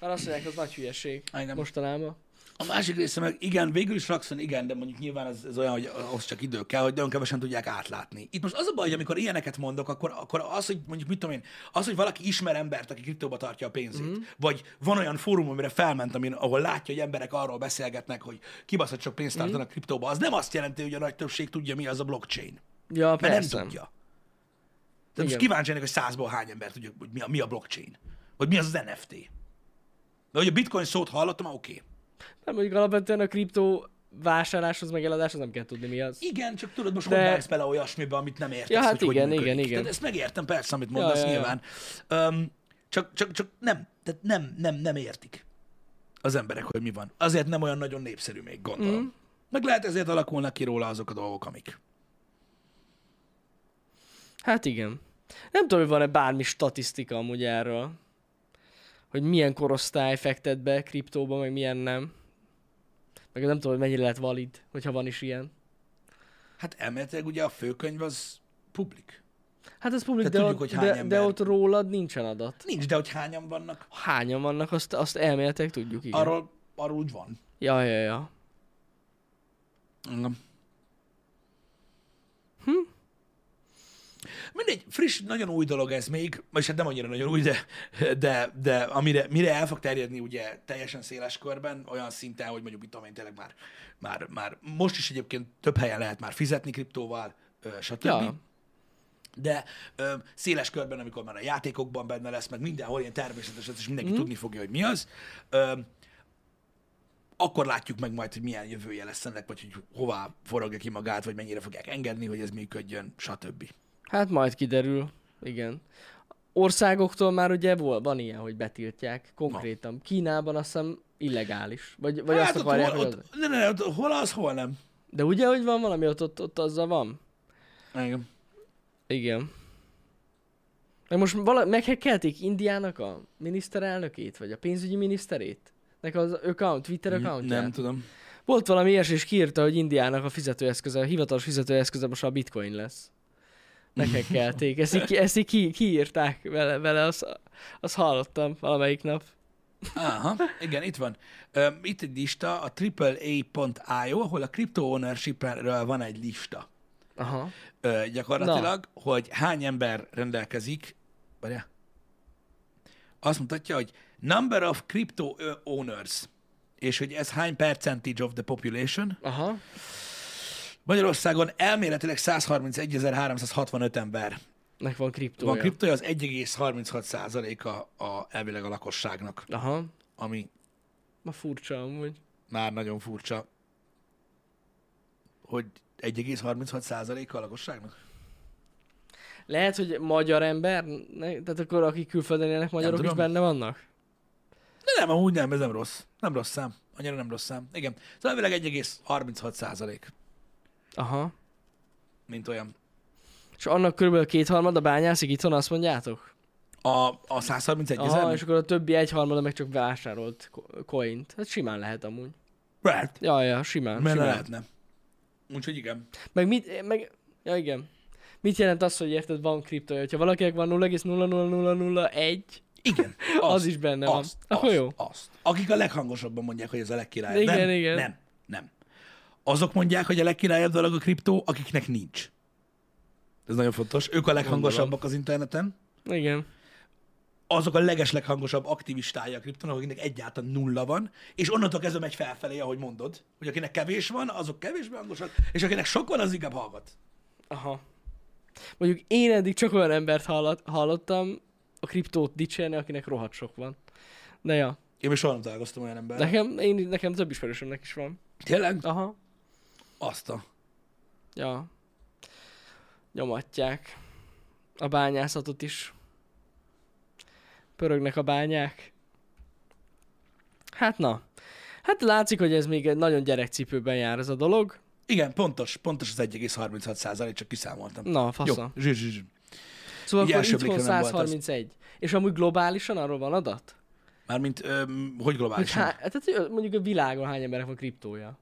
S2: Mert azt mondják, az nagy hülyeség.
S1: Igen.
S2: Mostanában.
S1: A másik része meg, igen, végül is rakszon, igen, de mondjuk nyilván ez, ez olyan, hogy ahhoz csak idő kell, hogy nagyon kevesen tudják átlátni. Itt most az a baj, hogy amikor ilyeneket mondok, akkor, akkor az, hogy mondjuk mit tudom én, az, hogy valaki ismer embert, aki kriptóba tartja a pénzét, mm. vagy van olyan fórum, amire felment, amin, ahol látja, hogy emberek arról beszélgetnek, hogy kibaszott sok pénzt tartanak mm. kriptóba, az nem azt jelenti, hogy a nagy többség tudja, mi az a blockchain.
S2: Ja,
S1: Mert
S2: persze.
S1: nem tudja. De most
S2: Igen.
S1: kíváncsi ennek, hogy százból hány ember tudja, hogy mi a, mi a blockchain. Vagy mi az az NFT. De hogy a bitcoin szót hallottam, már oké. Okay.
S2: Nem, Hát mondjuk alapvetően a kriptó vásárláshoz, meg eladáshoz nem kell tudni mi az.
S1: Igen, csak tudod, most
S2: De-
S1: De... hogy vágsz bele olyasmibe, amit nem értesz,
S2: Ja, hát
S1: hogy hogy
S2: igen,
S1: működik.
S2: igen, igen.
S1: Tehát ezt megértem persze, amit mondasz
S2: ja, ja.
S1: nyilván. Öm, csak, csak, csak nem, tehát nem, nem, nem értik az emberek, hogy mi van. Azért nem olyan nagyon népszerű még, gondolom. Mm. Meg lehet ezért alakulnak ki róla azok a dolgok, amik.
S2: Hát igen. Nem tudom, hogy van-e bármi statisztika amúgy erről, hogy milyen korosztály fektet be kriptóba, meg milyen nem. Meg nem tudom, hogy mennyire lehet valid, hogyha van is ilyen.
S1: Hát elméletileg ugye a főkönyv az publik.
S2: Hát ez publik,
S1: Tehát
S2: de,
S1: tudjuk,
S2: ott,
S1: hogy hány
S2: de, de
S1: ember.
S2: ott rólad nincsen adat.
S1: Nincs, de hogy hányan vannak,
S2: Hányan vannak, azt, azt elméletek tudjuk, igen.
S1: arról, arról úgy van.
S2: Ja, ja, ja.
S1: Igen. Mindegy, friss, nagyon új dolog ez még, vagyis hát nem annyira nagyon új, de, de, de amire mire el fog terjedni ugye teljesen széles körben, olyan szinten, hogy mondjuk, mit tudom én, tényleg már, már, már most is egyébként több helyen lehet már fizetni kriptóval, ö, stb.
S2: Ja.
S1: Ja. De ö, széles körben, amikor már a játékokban benne lesz, meg mindenhol ilyen természetes, lesz, és mindenki mm. tudni fogja, hogy mi az, ö, akkor látjuk meg majd, hogy milyen jövője lesz ennek, vagy hogy hová forogja ki magát, vagy mennyire fogják engedni, hogy ez működjön, stb.
S2: Hát majd kiderül, igen. Országoktól már ugye vol, van ilyen, hogy betiltják konkrétan. Kínában azt hiszem illegális. Vagy, vagy hát azt
S1: ott,
S2: akarják,
S1: hol,
S2: hogy az...
S1: ott, ne, ne, ne, ott, hol az, hol nem.
S2: De ugye, hogy van valami, ott, ott, ott azzal van?
S1: Igen.
S2: Igen. Meg most vala, meghekkelték Indiának a miniszterelnökét, vagy a pénzügyi miniszterét? Nek az account, Twitter accountját?
S1: Nem tudom.
S2: Volt valami ilyes, és kiírta, hogy Indiának a fizetőeszköze, a hivatalos fizetőeszköze most a bitcoin lesz. Meghekkelték. Ezt így, ki- ezt így ki, kiírták vele, vele azt, azt hallottam valamelyik nap.
S1: Aha, igen, itt van. Öm, itt egy lista, a AAA.io, ahol a crypto ownership-ről van egy lista.
S2: Aha.
S1: Ö, gyakorlatilag, Na. hogy hány ember rendelkezik, várjál, azt mutatja, hogy number of crypto ö, owners, és hogy ez hány percentage of the population.
S2: Aha.
S1: Magyarországon elméletileg 131.365 ember
S2: Nek van kriptója.
S1: van kriptója, az 1,36 százaléka a, elvileg a lakosságnak,
S2: Aha.
S1: ami
S2: Ma furcsa amúgy.
S1: már nagyon furcsa, hogy 1,36 százaléka a lakosságnak.
S2: Lehet, hogy magyar ember? Ne, tehát akkor akik külföldön élnek, magyarok is
S1: tudom.
S2: benne vannak?
S1: De nem, amúgy nem, ez nem rossz. Nem rossz szám. Annyira nem rossz szám. Igen. Szóval elvileg 1,36 százalék,
S2: Aha.
S1: mint olyan.
S2: És annak körülbelül kétharmada bányászik itthon, azt mondjátok?
S1: A, a 131
S2: Aha,
S1: ezer?
S2: és akkor a többi egyharmada meg csak vásárolt ko- coint. Hát simán lehet amúgy.
S1: Right.
S2: Ja, ja, simán.
S1: Mert
S2: simán.
S1: lehetne. Úgyhogy igen.
S2: Meg mit, eh, meg, ja igen. Mit jelent az, hogy érted, van kriptója? Hogyha valakinek van 0,00001,
S1: Igen.
S2: [LAUGHS] az, az is benne van.
S1: Azt,
S2: Akkor
S1: azt,
S2: jó.
S1: Azt. Akik a leghangosabban mondják, hogy ez a legkirályabb.
S2: Igen,
S1: nem,
S2: igen.
S1: Nem, nem. Azok mondják, hogy a legkirályabb dolog a kriptó, akiknek nincs. Ez nagyon fontos. Ők a leghangosabbak az interneten.
S2: Igen.
S1: Azok a leges leghangosabb aktivistája a kriptónak, akiknek egyáltalán nulla van, és onnantól kezdve megy felfelé, ahogy mondod, hogy akinek kevés van, azok kevésbé hangosak, és akinek sok van, az inkább hallgat.
S2: Aha. Mondjuk én eddig csak olyan embert hallat, hallottam a kriptót dicsérni, akinek rohadt sok van. De ja,
S1: Én még soha nem találkoztam olyan emberrel.
S2: nekem, én, nekem több ismerősömnek is van.
S1: Tényleg?
S2: Aha.
S1: Azt a...
S2: Ja. Nyomatják. A bányászatot is. Pörögnek a bányák. Hát na. Hát látszik, hogy ez még egy nagyon gyerekcipőben jár ez a dolog.
S1: Igen, pontos, pontos az 1,36 százalék, csak kiszámoltam.
S2: Na,
S1: Jó,
S2: faszom.
S1: zsí, zsí, zsí.
S2: Szóval
S1: így
S2: akkor
S1: első
S2: itthon
S1: blikre nem volt az.
S2: 131. És amúgy globálisan arról van adat?
S1: Mármint, öm, hogy
S2: Hogy
S1: globálisan?
S2: há... Tehát hogy mondjuk a világon hány emberek van kriptója?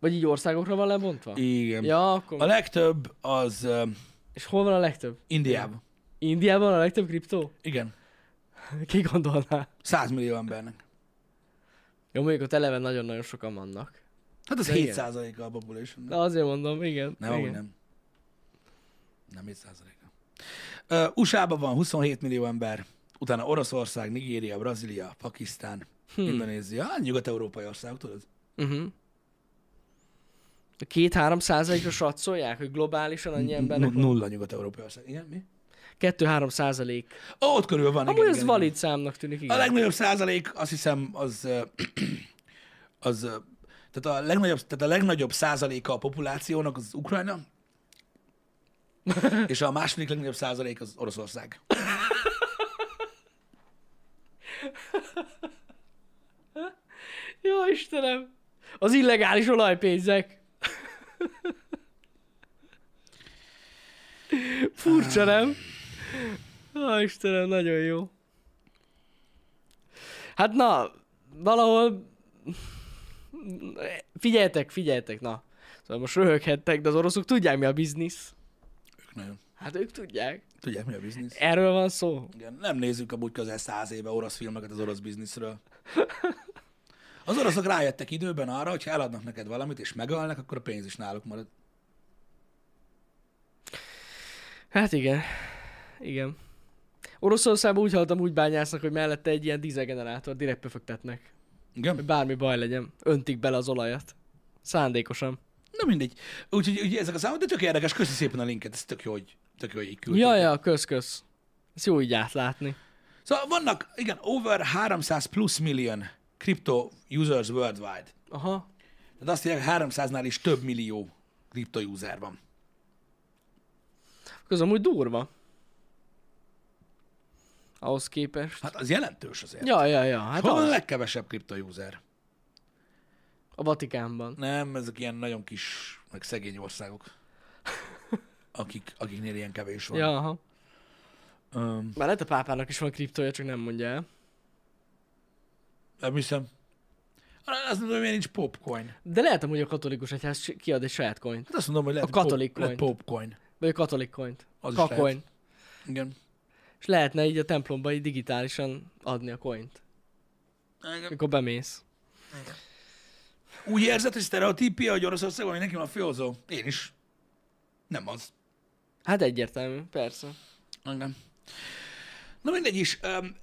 S2: Vagy így országokra van lebontva?
S1: Igen. Ja.
S2: Ja, akkor...
S1: A legtöbb az uh,
S2: És hol van a legtöbb?
S1: Indiában.
S2: Indiában a legtöbb kriptó? [LAUGHS]
S1: Igen.
S2: Ki gondolná?
S1: 100 millió embernek.
S2: Jó, mondjuk ott eleve nagyon-nagyon sokan vannak.
S1: Hát az
S2: De
S1: 7
S2: igen.
S1: százaléka a population.
S2: De azért mondom, igen.
S1: Nem, amúgy
S2: igen.
S1: nem. Nem 7 százaléka. Ö, USA-ban van 27 millió ember, utána Oroszország, Nigéria, Brazília, Pakisztán,
S2: Hm.
S1: hmm. Indonézia, Hát, nyugat-európai országok, tudod?
S2: Uh-huh. Két-három százalékra satszolják, hogy globálisan annyi embernek
S1: Nu-
S2: van.
S1: Nulla nyugat-európai ország. Igen, mi?
S2: 2-3 százalék.
S1: Ó, ott körül van.
S2: Amúgy ez valid számnak tűnik,
S1: A
S2: igen.
S1: legnagyobb százalék, azt hiszem, az, ö, [CLEARS THROAT] az ö, tehát a legnagyobb, tehát a legnagyobb százaléka a populációnak az Ukrajna, és a második legnagyobb százalék az Oroszország.
S2: Jó Istenem! Az illegális olajpénzek! Furcsa, nem? Ó, Istenem, nagyon jó. Hát na, valahol... Figyeljetek, figyeljetek, na. Szóval most röhöghettek, de az oroszok tudják mi a biznisz.
S1: Ők nagyon
S2: Hát ők tudják.
S1: tudják, mi a biznisz.
S2: Erről van szó.
S1: Igen, nem nézzük amúgy közel száz éve orosz filmeket az orosz bizniszről. Az oroszok rájöttek időben arra, hogy ha eladnak neked valamit, és megölnek, akkor a pénz is náluk marad.
S2: Hát igen. Igen. Oroszországban úgy hallottam, úgy bányásznak, hogy mellette egy ilyen dízelgenerátor direkt pöfögtetnek.
S1: Igen?
S2: Hogy bármi baj legyen, öntik bele az olajat. Szándékosan.
S1: Na mindegy. Úgyhogy ugye ezek a számok, de tök érdekes. Köszi szépen a linket, ez tök jó, hogy, tök jó, hogy így küldtétek.
S2: Ja, ja, kösz, kösz. Ezt jó így átlátni.
S1: Szóval vannak, igen, over 300 plusz million crypto users worldwide.
S2: Aha.
S1: Tehát azt írják, 300-nál is több millió crypto user van.
S2: Közben amúgy durva. Ahhoz képest.
S1: Hát az jelentős azért.
S2: Ja, ja, ja. Hát
S1: Hát Hol van a
S2: az.
S1: legkevesebb crypto user?
S2: A Vatikánban.
S1: Nem, ezek ilyen nagyon kis, meg szegény országok,
S2: [LAUGHS]
S1: akik, akiknél ilyen kevés van.
S2: Ja, aha.
S1: Um,
S2: Már lehet a pápának is van kriptója, csak nem mondja el.
S1: nem hát hiszem. Azt mondom, hogy miért nincs popcoin.
S2: De lehet amúgy a katolikus egyház si- kiad egy saját coint.
S1: Hát azt mondom, hogy lehet,
S2: A
S1: hogy
S2: katolik
S1: pop, lehet
S2: coin.
S1: popcoin.
S2: Vagy a katolik coint.
S1: Az is lehet.
S2: Kakoin.
S1: Igen.
S2: És lehetne így a templomba így digitálisan adni a coint,
S1: Igen.
S2: amikor bemész.
S1: Úgy érzed, hogy sztereotípia, hogy Oroszországban mindenki van főzó? Én is. Nem az.
S2: Hát egyértelmű, persze.
S1: Igen. Na mindegy is, um,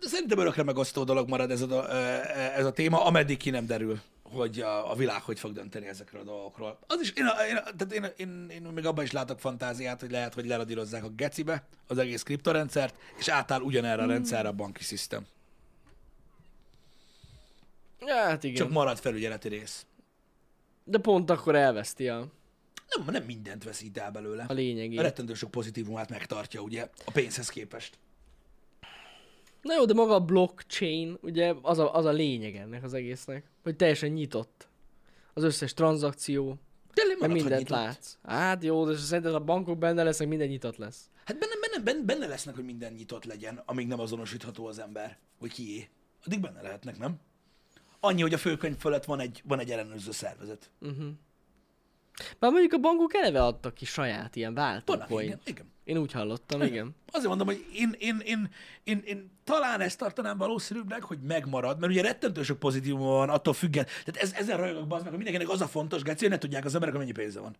S1: szerintem örökre megosztó dolog marad ez a, do- ö, ez a téma, ameddig ki nem derül, hogy a, a világ hogy fog dönteni ezekről a dolgokról. Az is, én, a- én, a- tehát én, én, én még abban is látok fantáziát, hogy lehet, hogy leradírozzák a gecibe az egész kriptorendszert, és átáll ugyanerre a
S2: Hmm.
S1: rendszerre a banki szisztem.
S2: Ja, hát igen.
S1: Csak marad felügyeleti rész.
S2: De pont akkor elveszti a,
S1: Nem, nem mindent veszít el belőle.
S2: a
S1: A
S2: lényegét.
S1: rettentő sok pozitívumát megtartja, ugye, a pénzhez képest.
S2: Na jó, de maga a blockchain, ugye az a, az a lényeg ennek az egésznek, hogy teljesen nyitott. Az összes tranzakció,
S1: Tényleg
S2: meg
S1: maradhat
S2: mindent
S1: nyitott.
S2: látsz. Hát jó, de szerinted a bankok benne lesznek, minden nyitott lesz.
S1: Hát benne, benne, benne, benne lesznek, hogy minden nyitott legyen, amíg nem azonosítható az ember, hogy kié. Addig benne lehetnek, nem? Annyi, hogy a főkönyv fölött van egy, van egy ellenőrző szervezet.
S2: Bár mondjuk a bankok eleve adtak ki saját ilyen
S1: Vannak,
S2: váltókoin.
S1: igen, igen.
S2: Én úgy hallottam, igen.
S1: Azért mondom, hogy én, én, én, én, én talán ezt tartanám valószínűbbnek, hogy megmarad, mert ugye rettentő sok pozitívum van, attól függen. Tehát ez, ezen rajogok bazd meg, hogy mindenkinek az a fontos, Geci, hogy ne tudják az emberek, hogy mennyi pénze van.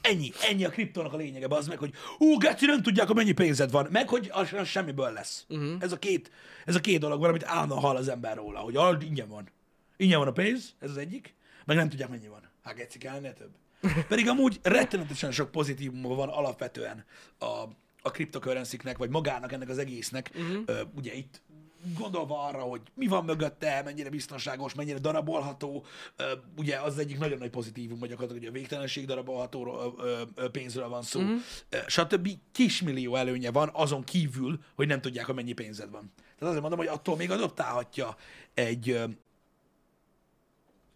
S1: Ennyi, ennyi a kriptónak a lényege, az meg, hogy ú, Geci, nem tudják, hogy mennyi pénzed van, meg hogy az, az semmiből lesz. Uh-huh. Ez, a két, ez a két dolog van, amit állandóan hall az ember róla, hogy ah, ingyen van. Ingyen van a pénz, ez az egyik, meg nem tudják, mennyi van. Hát Geci, kell ennél több. Pedig amúgy rettenetesen sok pozitívuma van alapvetően a, a kriptokörönsziknek, vagy magának ennek az egésznek. Uh-huh. Ö, ugye itt gondolva arra, hogy mi van mögötte, mennyire biztonságos, mennyire darabolható. Ö, ugye az egyik nagyon nagy pozitívum, hogy gyakorlatilag hogy a végtelenség darabolható ö, ö, ö, pénzről van szó, mm-hmm. stb. Kismillió előnye van azon kívül, hogy nem tudják, hogy mennyi pénzed van. Tehát azért mondom, hogy attól még adoptálhatja egy, ö,
S2: Egy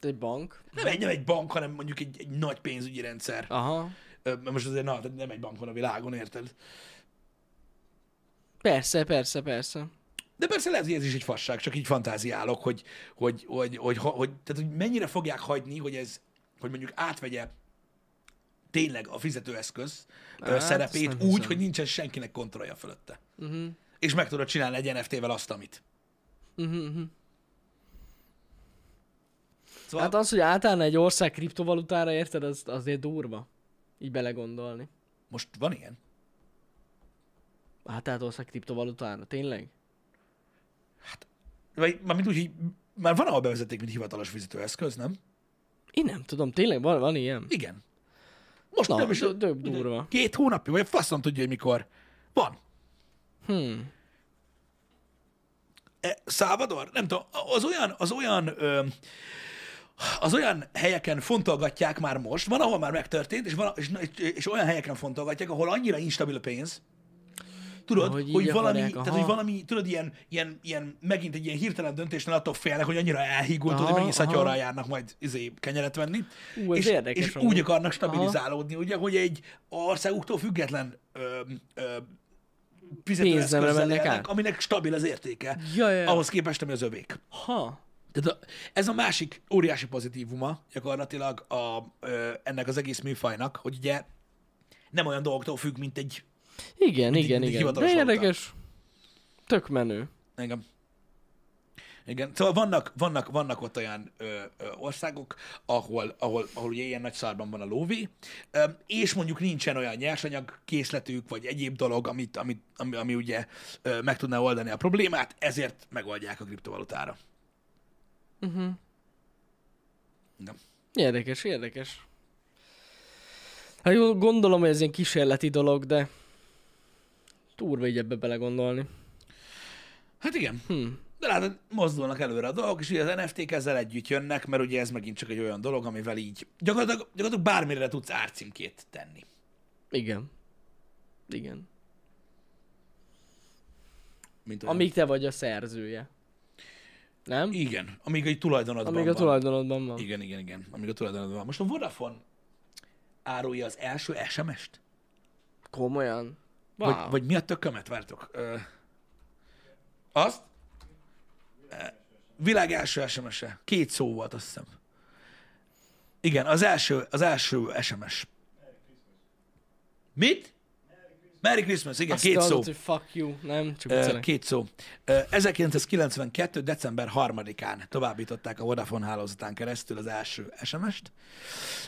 S2: Ah. bank.
S1: nem egy, nem egy bank, hanem mondjuk egy, egy nagy pénzügyi rendszer.
S2: Aha.
S1: Ö, mert Most azért na, tehát nem egy bank van a világon, érted?
S2: Persze, persze, persze.
S1: De persze lehet, hogy ez is egy fasság, csak így fantáziálok, hogy, hogy, hogy, hogy, hogy, hogy, tehát, hogy mennyire fogják hagyni, hogy ez, hogy mondjuk átvegye tényleg a fizetőeszköz hát,
S2: Hát,
S1: szerepét
S2: azt
S1: úgy,
S2: nem hiszem. Mhm.
S1: hogy nincsen senkinek kontrollja fölötte. Uh-huh. És meg tudod csinálni egy NFT-vel azt, amit.
S2: Mhm,
S1: Szóval,
S2: Hát az, hogy átállna egy ország kriptovalutára, érted, az, azért durva. Így belegondolni.
S1: most van ilyen?
S2: Hát ország kriptovalutára, tényleg?
S1: Vagy mármint úgy, hogy már van, ahol bevezették, mint hivatalos fizetőeszköz, nem?
S2: Én nem tudom, tényleg van, van ilyen?
S1: Igen. Most
S2: Na,
S1: nem is.
S2: dö- dö- durva.
S1: Két hónapja, vagy a faszom tudja, hogy mikor. Van.
S2: Hm.
S1: Hmm. Salvador? Nem tudom. Az olyan, az olyan, ö, az olyan helyeken fontolgatják már most, van, ahol már megtörtént, és, van, és, és olyan helyeken fontolgatják, ahol annyira instabil a pénz, tudod,
S2: Ja, hogy
S1: hogy,
S2: így
S1: hogy valami,
S2: akarják,
S1: tehát,
S2: aha.
S1: hogy valami, tudod, ilyen, ilyen, ilyen, megint egy ilyen hirtelen döntésnél attól félnek, hogy annyira elhígult, tudod, hogy
S2: Aha,
S1: megint
S2: aha.
S1: szatyorral járnak majd izé, kenyeret venni.
S2: Ú, ez
S1: és,
S2: érdekes
S1: és
S2: amúgy.
S1: úgy akarnak stabilizálódni, ugye, hogy egy országuktól független ö, ö,
S2: Pénznemre
S1: fizetőeszközzel
S2: mennek
S1: élnek,
S2: át.
S1: aminek stabil az értéke,
S2: Ja, ja, ja.
S1: ahhoz képest, ami az övék.
S2: Ha.
S1: Tehát a, ez a másik óriási pozitívuma gyakorlatilag a, ö, ennek az egész műfajnak, hogy ugye nem olyan dolgoktól függ, mint egy...
S2: Igen, igen,
S1: mindig
S2: igen. De
S1: hivatalos valuta.
S2: érdekes. Tök menő.
S1: Engem. Igen, szóval vannak, vannak, vannak ott olyan ö, ö, országok, ahol, ahol, ahol ugye ilyen nagy szarban van a lóvé, ö, és mondjuk nincsen olyan nyersanyag készletük, vagy egyéb dolog, amit, amit, ami, ami ugye ö, meg tudná oldani a problémát, ezért megoldják a kriptovalutára. Uh-huh.
S2: Érdekes, érdekes. Hát jó, gondolom, hogy ez ilyen kísérleti dolog, de túrva így ebbe belegondolni.
S1: Hát igen. Hmm. De látod, mozdulnak előre a dolgok, és ugye az NFT-k ezzel együtt jönnek, mert ugye ez megint csak egy olyan dolog, amivel így gyakorlatilag, gyakorlatilag bármire tudsz árcímkét tenni.
S2: Igen. Igen.
S1: Mint olyan.
S2: Amíg te vagy a szerzője. Nem?
S1: Igen, amíg egy tulajdonodban
S2: Amíg a
S1: van.
S2: tulajdonodban van.
S1: Igen, igen, igen, amíg a tulajdonodban van. Most a Vodafone árulja az első SMS-t?
S2: Komolyan. Wow.
S1: Vagy, vagy mi a tökömet vártok? Ö, azt? Ö, Világ első SMS-e. Két szó volt, azt hiszem. Igen, az első, az első SMS. Mit? Merry Christmas, igen,
S2: Azt
S1: két
S2: hallott,
S1: szó.
S2: hogy fuck you, nem? Csak
S1: Ö,
S2: viccelek.
S1: Két szó. Ö, 1992. december 3-án továbbították a Vodafone hálózatán keresztül az első SMS-t.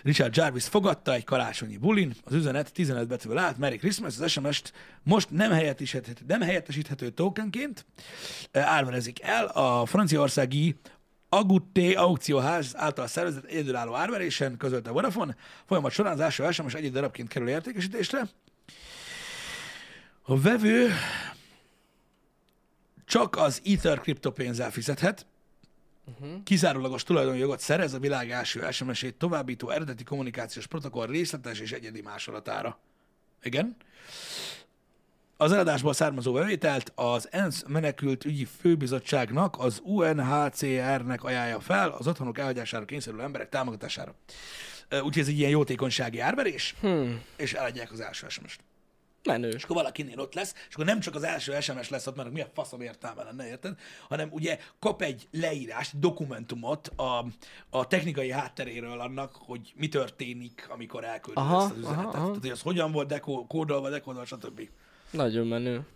S1: Richard Jarvis fogadta egy karácsonyi bulin, az üzenet 15 betűből állt, Merry Christmas, az SMS-t most nem helyettesíthető, nem helyettesíthető tokenként ö, árverezik el a franciaországi Agutté aukcióház által szervezett egyedülálló árverésen közölte a Vodafone. Folyamat során az első SMS egy darabként kerül értékesítésre. A vevő csak az Ether kriptopénzzel fizethet, kizárólagos tulajdonjogot szerez a világ első SMS-ét továbbító eredeti kommunikációs protokoll részletes és egyedi másolatára. Igen. Az eladásból származó bevételt az ENSZ menekült ügyi főbizottságnak, az UNHCR-nek ajánlja fel az otthonok elhagyására kényszerülő emberek támogatására. Ö, Úgyhogy ez egy ilyen jótékonysági árverés, hmm. és eladják az első SMS-t.
S2: Menő.
S1: És akkor valakinél ott lesz, és akkor nem csak az első SMS lesz ott, mert mi a faszom értelme lenne, érted? Hanem ugye kap egy leírást, dokumentumot a, a technikai hátteréről annak, hogy mi történik, amikor elküldi
S2: Aha,
S1: ezt az üzenetet.
S2: aha, aha.
S1: Tehát, hogy az hogyan volt dekó, kódolva, dekódolva, stb.
S2: Nagyon menő.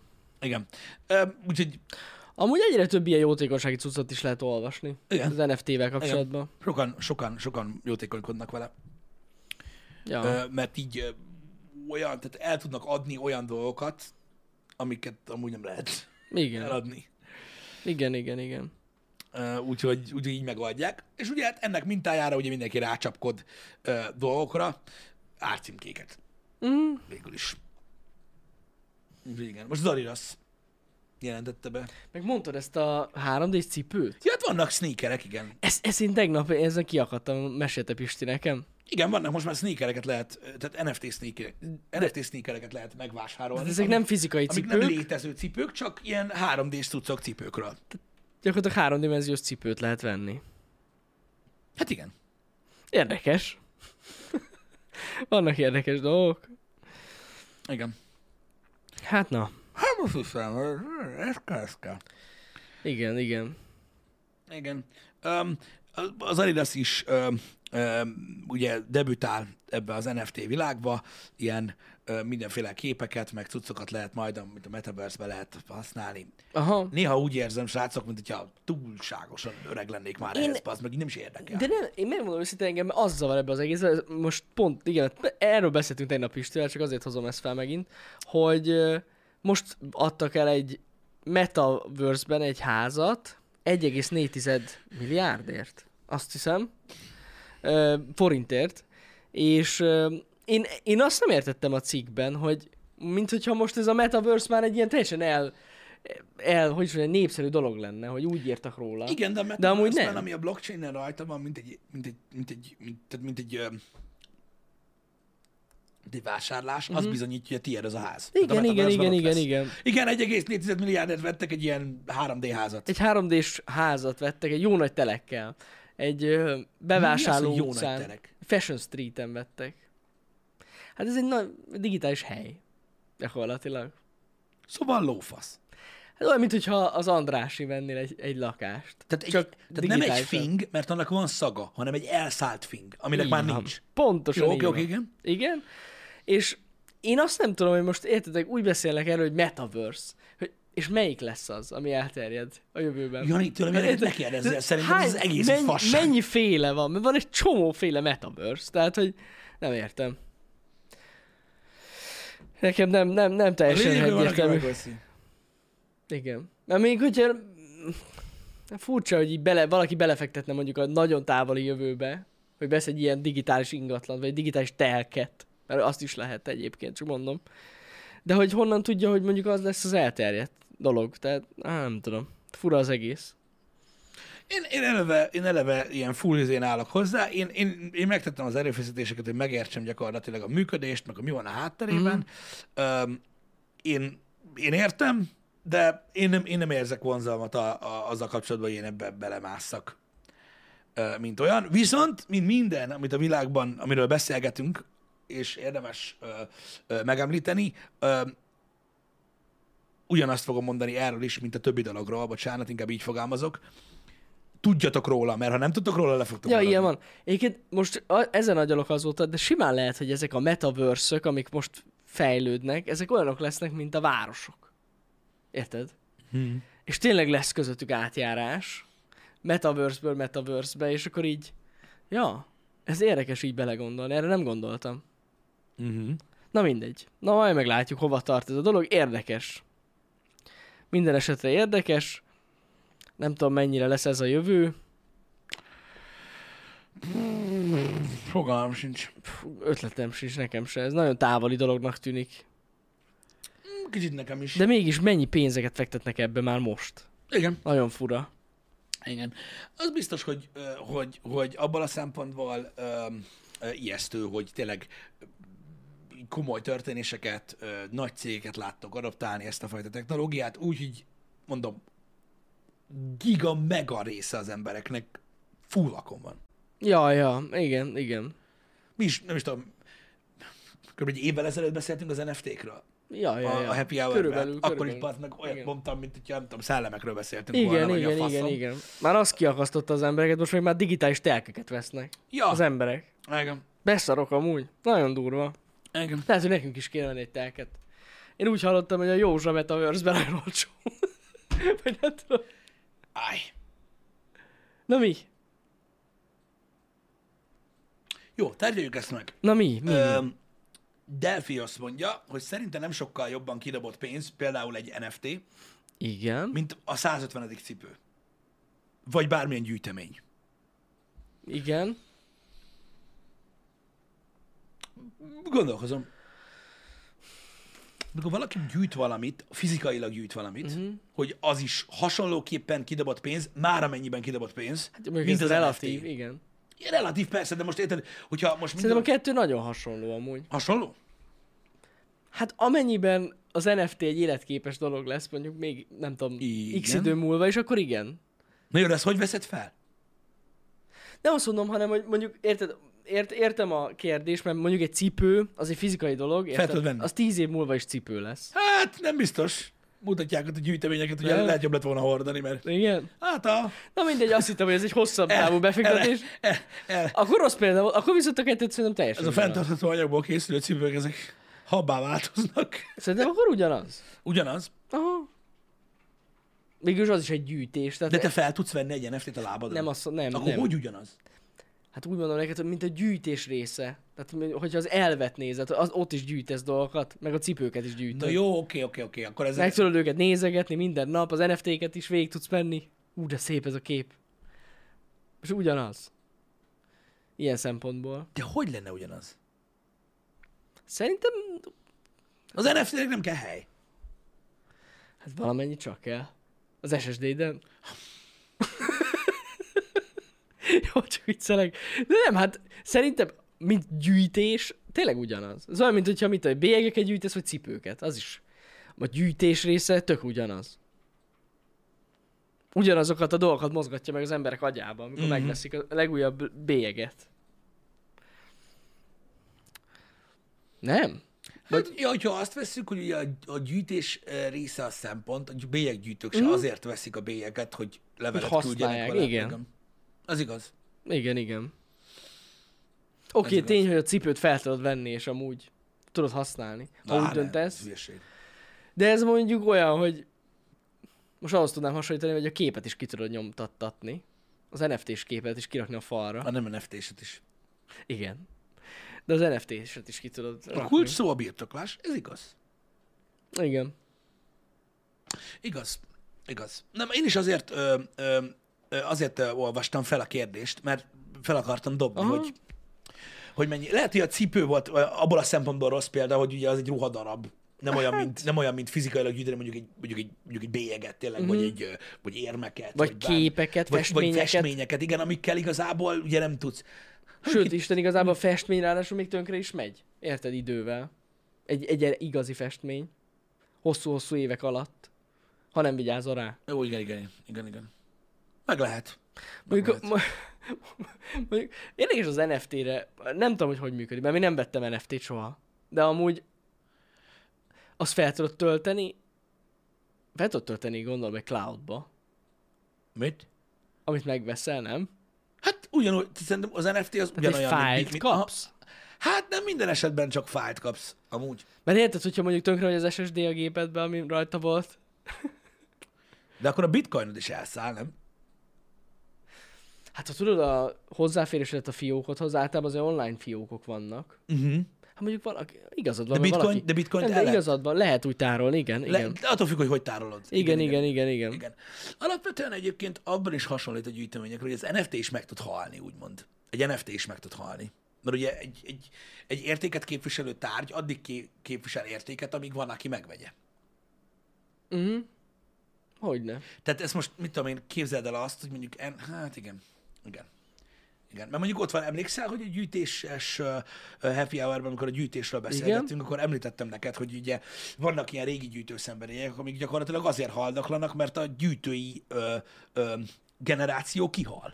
S1: Igen. Ö, Úgyhogy
S2: Amúgy egyre több ilyen jótékonysági cuccot is lehet olvasni.
S1: Igen.
S2: Az NFT-vel kapcsolatban.
S1: sokan, sokan, sokan jótékonykodnak vele.
S2: Ja.
S1: Ö, mert így ö, olyan, tehát el tudnak adni olyan dolgokat, amiket amúgy nem lehet
S2: igen.
S1: eladni.
S2: igen, igen, igen.
S1: Ö, úgyhogy úgy, így megoldják. És ugye hát ennek mintájára ugye mindenki rácsapkod ö, dolgokra, árcímkéket.
S2: Mhm.
S1: Végül is. Úgyhogy igen. Most az Adidas jelentette be.
S2: Meg mondtad ezt a 3D-s cipőt?
S1: Ja, hát vannak sneakerek, igen.
S2: Ez, ez én tegnap ezen kiakadtam, mesélte Pisti nekem.
S1: Igen, vannak most már sneakereket lehet, ö, tehát NFT, sneaker, NFT sneakereket lehet megvásárolni.
S2: De Hát ezek nem fizikai
S1: amik
S2: cipők,
S1: nem létező cipők, csak ilyen 3D-s cuccok cipőkről.
S2: gyakorlatilag háromdimenziós cipőt lehet venni.
S1: Hát igen. [LAUGHS]
S2: Érdekes. Vannak érdekes dolgok.
S1: Igen.
S2: Hát na,
S1: Hát most hiszem, ez kell, ez kell.
S2: igen, igen.
S1: Igen. Um, az Adidas is um, um, ugye debütál ebbe az NFT világba, ilyen um, mindenféle képeket, meg cuccokat lehet majd, amit a Metaverse-be lehet használni.
S2: Aha.
S1: Néha úgy érzem, srácok, mint hogyha túlságosan öreg lennék már Én... ehhez, az meg így nem is érdekel.
S2: De nem, én megmondom őszintén, engem az zavar ebbe az egészbe, ez most pont, igen, erről beszéltünk tegnap Pistivel, csak azért hozom ezt fel megint, hogy ö, most adtak el egy Metaverse-ben egy házat 1,4 milliárdért, azt hiszem, ö, forintért, és ö, én, én azt nem értettem a cikkben, hogy mint hogyha most ez a Metaverse már egy ilyen teljesen el, el, hogy is mondjam, népszerű dolog lenne, hogy úgy írtak róla.
S1: Igen, de, a
S2: de amúgy
S1: Metaverse-ben,
S2: nem.
S1: ami a blockchain-en rajta van, mint egy, mint egy, mint egy, mint, tehát mint egy, ö, mint egy vásárlás, az bizonyítja, hogy a tiéd az a ház. Tehát a
S2: Mhm. Igen, igen,
S1: Metaverse-ben
S2: igen,
S1: ott
S2: igen,
S1: lesz.
S2: igen.
S1: Igen, 1,4 milliárdért vettek egy ilyen 3D házat.
S2: Egy 3D-s házat vettek, egy jó nagy telekkel. Egy ö, bevásárló
S1: Mi az, hogy jó nagy
S2: utcán.
S1: telek?
S2: Fashion Street-en vettek. Hát ez egy nagy digitális hely. Gyakorlatilag.
S1: Szóval lófasz.
S2: Hát olyan, mint hogyha az Andrási vennél egy, egy lakást.
S1: Tehát, egy, Csak tehát nem egy
S2: digitálisan.
S1: fing, mert annak van szaga, hanem egy elszállt fing, aminek már
S2: Így van.
S1: nincs.
S2: Pontosan
S1: Jó,
S2: így
S1: oké,
S2: van.
S1: oké, igen.
S2: Igen. És én azt nem tudom, hogy most értetek, úgy beszélnek erről, hogy metaverse. Hogy, és melyik lesz az, ami elterjed a jövőben?
S1: Jani, tőlem ilyeneket ne kérdezzél, szerintem ez az egész egy
S2: mennyi,
S1: fasság.
S2: mennyi féle van? Mert van egy csomó féle metaverse, tehát hogy nem értem. Nekem nem, nem, nem teljesen
S1: Lényegben van, aki
S2: egyértelmű.
S1: megveszi.
S2: Igen. Mert még hogyha furcsa, hogy így bele, valaki belefektetne mondjuk a nagyon távoli jövőbe, hogy vesz egy ilyen digitális ingatlan, vagy egy digitális telket, mert azt is lehet egyébként, csak mondom. De hogy honnan tudja, hogy mondjuk az lesz az elterjedt dolog, tehát á, nem tudom. Fura az egész.
S1: Én, én, eleve, én eleve ilyen full izén állok hozzá. Én, én, én megtettem az erőfeszítéseket, hogy megértsem gyakorlatilag a működést, meg a mi van a hátterében.
S2: Mhm.
S1: Mm. Én, én értem, de én nem, én nem érzek vonzalmat a, a, azzal kapcsolatban, hogy én ebbe belemásszak, ö, mint olyan. Viszont, mint minden, amit a világban, amiről beszélgetünk, és érdemes ö, ö, megemlíteni, ö, ugyanazt fogom mondani erről is, mint a többi dologról, bocsánat, inkább így fogalmazok, tudjatok róla, mert ha nem tudtok róla, le fogtok
S2: Ja,
S1: maradni.
S2: ilyen van. Egyébként most a, ezen agyalok azóta, de simán lehet, hogy ezek a metaverse amik most fejlődnek, ezek olyanok lesznek, mint a városok. Érted?
S1: Hmm.
S2: És tényleg lesz közöttük átjárás, metaverse-ből metaverse-be, és akkor így, ja, ez érdekes így belegondolni, erre nem gondoltam.
S1: Uh-huh.
S2: Na mindegy. Na majd meglátjuk, hova tart ez a dolog. Érdekes. Minden esetre érdekes. Nem tudom, mennyire lesz ez a jövő.
S1: Fogalmam sincs.
S2: Pff, ötletem sincs nekem se. Ez nagyon távoli dolognak tűnik.
S1: Kicsit nekem is.
S2: De mégis mennyi pénzeket fektetnek ebbe már most?
S1: Igen.
S2: Nagyon fura.
S1: Igen. Az biztos, hogy, ö, hogy, hogy abban a szempontból ö, ö, ijesztő, hogy tényleg ö, komoly történéseket, ö, nagy cégeket láttok adaptálni ezt a fajta technológiát, úgy, hogy mondom, giga mega része az embereknek fullakon van.
S2: Ja, ja, igen, igen.
S1: Mi is, nem is tudom, kb. egy évvel ezelőtt beszéltünk az NFT-kről.
S2: Ja, ja,
S1: a,
S2: ja.
S1: a happy hour
S2: Körülbelül,
S1: Akkor is
S2: körülbelül.
S1: part meg olyat
S2: Igen.
S1: mondtam, mint hogyha nem tudom, szellemekről beszéltünk
S2: Igen,
S1: volna, vagy a
S2: igen,
S1: faszom.
S2: igen, igen. Már az kiakasztotta az embereket, most még már digitális telkeket vesznek.
S1: Ja,
S2: Az emberek.
S1: igen.
S2: Beszarok amúgy. Nagyon durva.
S1: igen.
S2: Lehet, hogy nekünk is kéne venni egy telket. Én úgy hallottam, hogy a Józsa Metaverse-ben nagyon olcsó. [LAUGHS] Vagy nem tudom.
S1: Áj.
S2: Na mi?
S1: Jó, tárgyaljuk ezt meg.
S2: Na mi? mi? mi?
S1: Öm, Delphi azt mondja, hogy szerintem nem sokkal jobban kidobott pénz, például egy NFT,
S2: Igen.
S1: mint a 150. cipő. Vagy bármilyen gyűjtemény.
S2: Igen.
S1: Gondolkozom. Mikor valaki gyűjt valamit, fizikailag gyűjt valamit,
S2: Mhm.
S1: hogy az is hasonlóképpen kidobott pénz, már amennyiben kidobott pénz,
S2: Hát, mint az relatív, igen.
S1: NFT. Relatív persze, de most érted, hogyha most
S2: Szerintem a
S1: minden...
S2: kettő nagyon hasonló amúgy.
S1: Hasonló?
S2: Hát amennyiben az NFT egy életképes dolog lesz, mondjuk még, nem tudom, x
S1: Igen.
S2: idő múlva, és akkor igen.
S1: Na jó, de ezt hogy veszed fel?
S2: Nem azt mondom, hanem hogy mondjuk, érted, ért, értem a kérdést, mert mondjuk egy cipő, az egy fizikai dolog,
S1: tudod venni.
S2: érted? Az tíz év múlva is cipő lesz.
S1: Hát nem biztos. Mutatják ott a gyűjteményeket, hogy
S2: Ja.
S1: lehet jobb lett volna hordani, mert
S2: Igen.
S1: hát a...
S2: Na mindegy, azt hittem, hogy ez egy
S1: [LAUGHS]
S2: hosszabb távú befektetés.
S1: El, el,
S2: Akkor rossz példa volt, akkor viszont a kettőt szerintem teljesen
S1: ez a
S2: ugyanaz.
S1: fenntartható anyagból készülő cipők, ezek habbá változnak.
S2: Szerintem akkor ugyanaz.
S1: Ugyanaz.
S2: Aha. Mégis az is egy gyűjtés, tehát
S1: De te fel tudsz venni egy NFT-t a lábadra.
S2: nem azt nem,
S1: Akkor
S2: nem.
S1: hogy ugyanaz?
S2: Hát úgy mondom neked, hogy mint a gyűjtés része. Tehát, mi- hogyha az elvet nézed, az, ott is gyűjtesz dolgokat, meg a cipőket is gyűjtöd.
S1: Na jó, oké, oké, oké. Akkor ez...
S2: Meg tudod őket nézegetni minden nap, az NFT-ket is végig tudsz menni. Ú, de szép ez a kép. És ugyanaz. Ilyen szempontból.
S1: De hogy lenne ugyanaz?
S2: Szerintem
S1: Az NFT-nek nem kell hely.
S2: Hát valamennyi csak kell. Az SSD-den. [LAUGHS] Jó, csak viccelek. De nem, hát szerintem, mint gyűjtés, tényleg ugyanaz. Ez olyan, mint hogyha mit tudom, bélyegeket gyűjtesz, vagy cipőket. Az is. A gyűjtés része tök ugyanaz. Ugyanazokat a dolgokat mozgatja meg az emberek agyában, amikor mm-hmm. megveszik a legújabb bélyeget. Nem?
S1: Hát, ja, hogyha azt veszük, hogy ugye a, a gyűjtés eh, része a szempont, a bélyeggyűjtők se azért veszik a bélyeget, hogy levelet
S2: Mhm. Hogy
S1: küldjenek
S2: használják,
S1: vele.
S2: igen.
S1: Az igaz.
S2: Igen, igen. Oké,
S1: igaz.
S2: okay, tény, hogy a cipőt fel tudod venni, és amúgy tudod használni, ha
S1: Á,
S2: úgy
S1: nem,
S2: döntesz.
S1: ez hülyeség.
S2: De ez mondjuk olyan, hogy most ahhoz tudnám hasonlítani, hogy a képet is ki tudod nyomtattatni. Az NFT-s képet is kirakni a falra.
S1: A nem NFT-set is.
S2: Igen. De az NFT-set is ki tudod
S1: A
S2: rakni.
S1: kulcs szó a birtoklás, ez igaz.
S2: Igen.
S1: Igaz, igaz. Nem, én is azért ö, ö, ö, azért ö, olvastam fel a kérdést, mert fel akartam dobni,
S2: Aha.
S1: hogy hogy mennyi. Lehet, hogy a cipő volt ö, abból a szempontból rossz példa, hogy ugye az egy ruhadarab. Nem olyan,
S2: Hát.
S1: mint, nem olyan, mint fizikailag gyűjteni mondjuk egy, mondjuk egy, mondjuk egy bélyeget tényleg, mm-hmm. vagy, egy, ö, vagy érmeket.
S2: Mhm. Vagy
S1: bár-
S2: képeket,
S1: vagy,
S2: festményeket.
S1: Vagy festményeket, igen, amikkel igazából ugye nem tudsz.
S2: Sőt, Isten igazából
S1: Hm.
S2: a festmény ráadásul még tönkre is megy. Érted idővel. Egy, egy igazi festmény. Hosszú-hosszú évek alatt. Ha nem vigyázol rá.
S1: Jó, igen, igen, igen, igen. Meg lehet.
S2: Mondjuk, a- mo- [LAUGHS] mondjuk érdekes az NFT-re, nem tudom, hogy hogy működik, mert én nem vettem NFT-t soha. De amúgy azt fel tudod tölteni, fel tudod tölteni, gondolom, egy cloudba,
S1: Mit?
S2: amit megveszel, nem?
S1: Hát ugyanúgy, szerintem az NFT az
S2: Tehát egy
S1: ugyanolyan,
S2: fájlt
S1: aha.
S2: kapsz.
S1: Hát nem minden esetben csak fájt kapsz, amúgy.
S2: Mert érted, hogyha mondjuk tönkre vagy az SSD a gépedbe, ami rajta volt,
S1: De akkor a bitcoinod is elszáll, nem?
S2: hát ha tudod a hozzáférésedet a fiókodhoz, általában az olyan online fiókok vannak.
S1: Uh-huh.
S2: Hát mondjuk valaki, igazad van,
S1: De
S2: mert
S1: bitcoin-
S2: valaki,
S1: de bitcoint
S2: nem,
S1: el
S2: de
S1: lehet.
S2: igazad van, lehet úgy tárolni, igen,
S1: Le,
S2: igen.
S1: de attól függ, hogy hogy tárolod.
S2: igen, igen, igen, igen.
S1: igen. Alapvetően egyébként abban is hasonlít a gyűjteményekre, hogy az NFT is meg tud halni, úgymond. Egy NFT is meg tud halni. Mert ugye egy, egy, egy értéket képviselő tárgy addig ké- képvisel értéket, amíg van, aki megvegye.
S2: Uh-huh. Hogyne.
S1: Tehát ezt most, mit tudom én, képzeld el azt, hogy mondjuk, en, hát igen, igen. Igen, mert mondjuk ott van, emlékszel, hogy a gyűjtéses ö, ö, happy hour amikor a gyűjtésről beszélgettünk, igen. akkor említettem neked, hogy ugye vannak ilyen régi gyűjtőszenvedélyek, amik gyakorlatilag azért haldaklanak, mert a gyűjtői ö, ö, generáció kihal.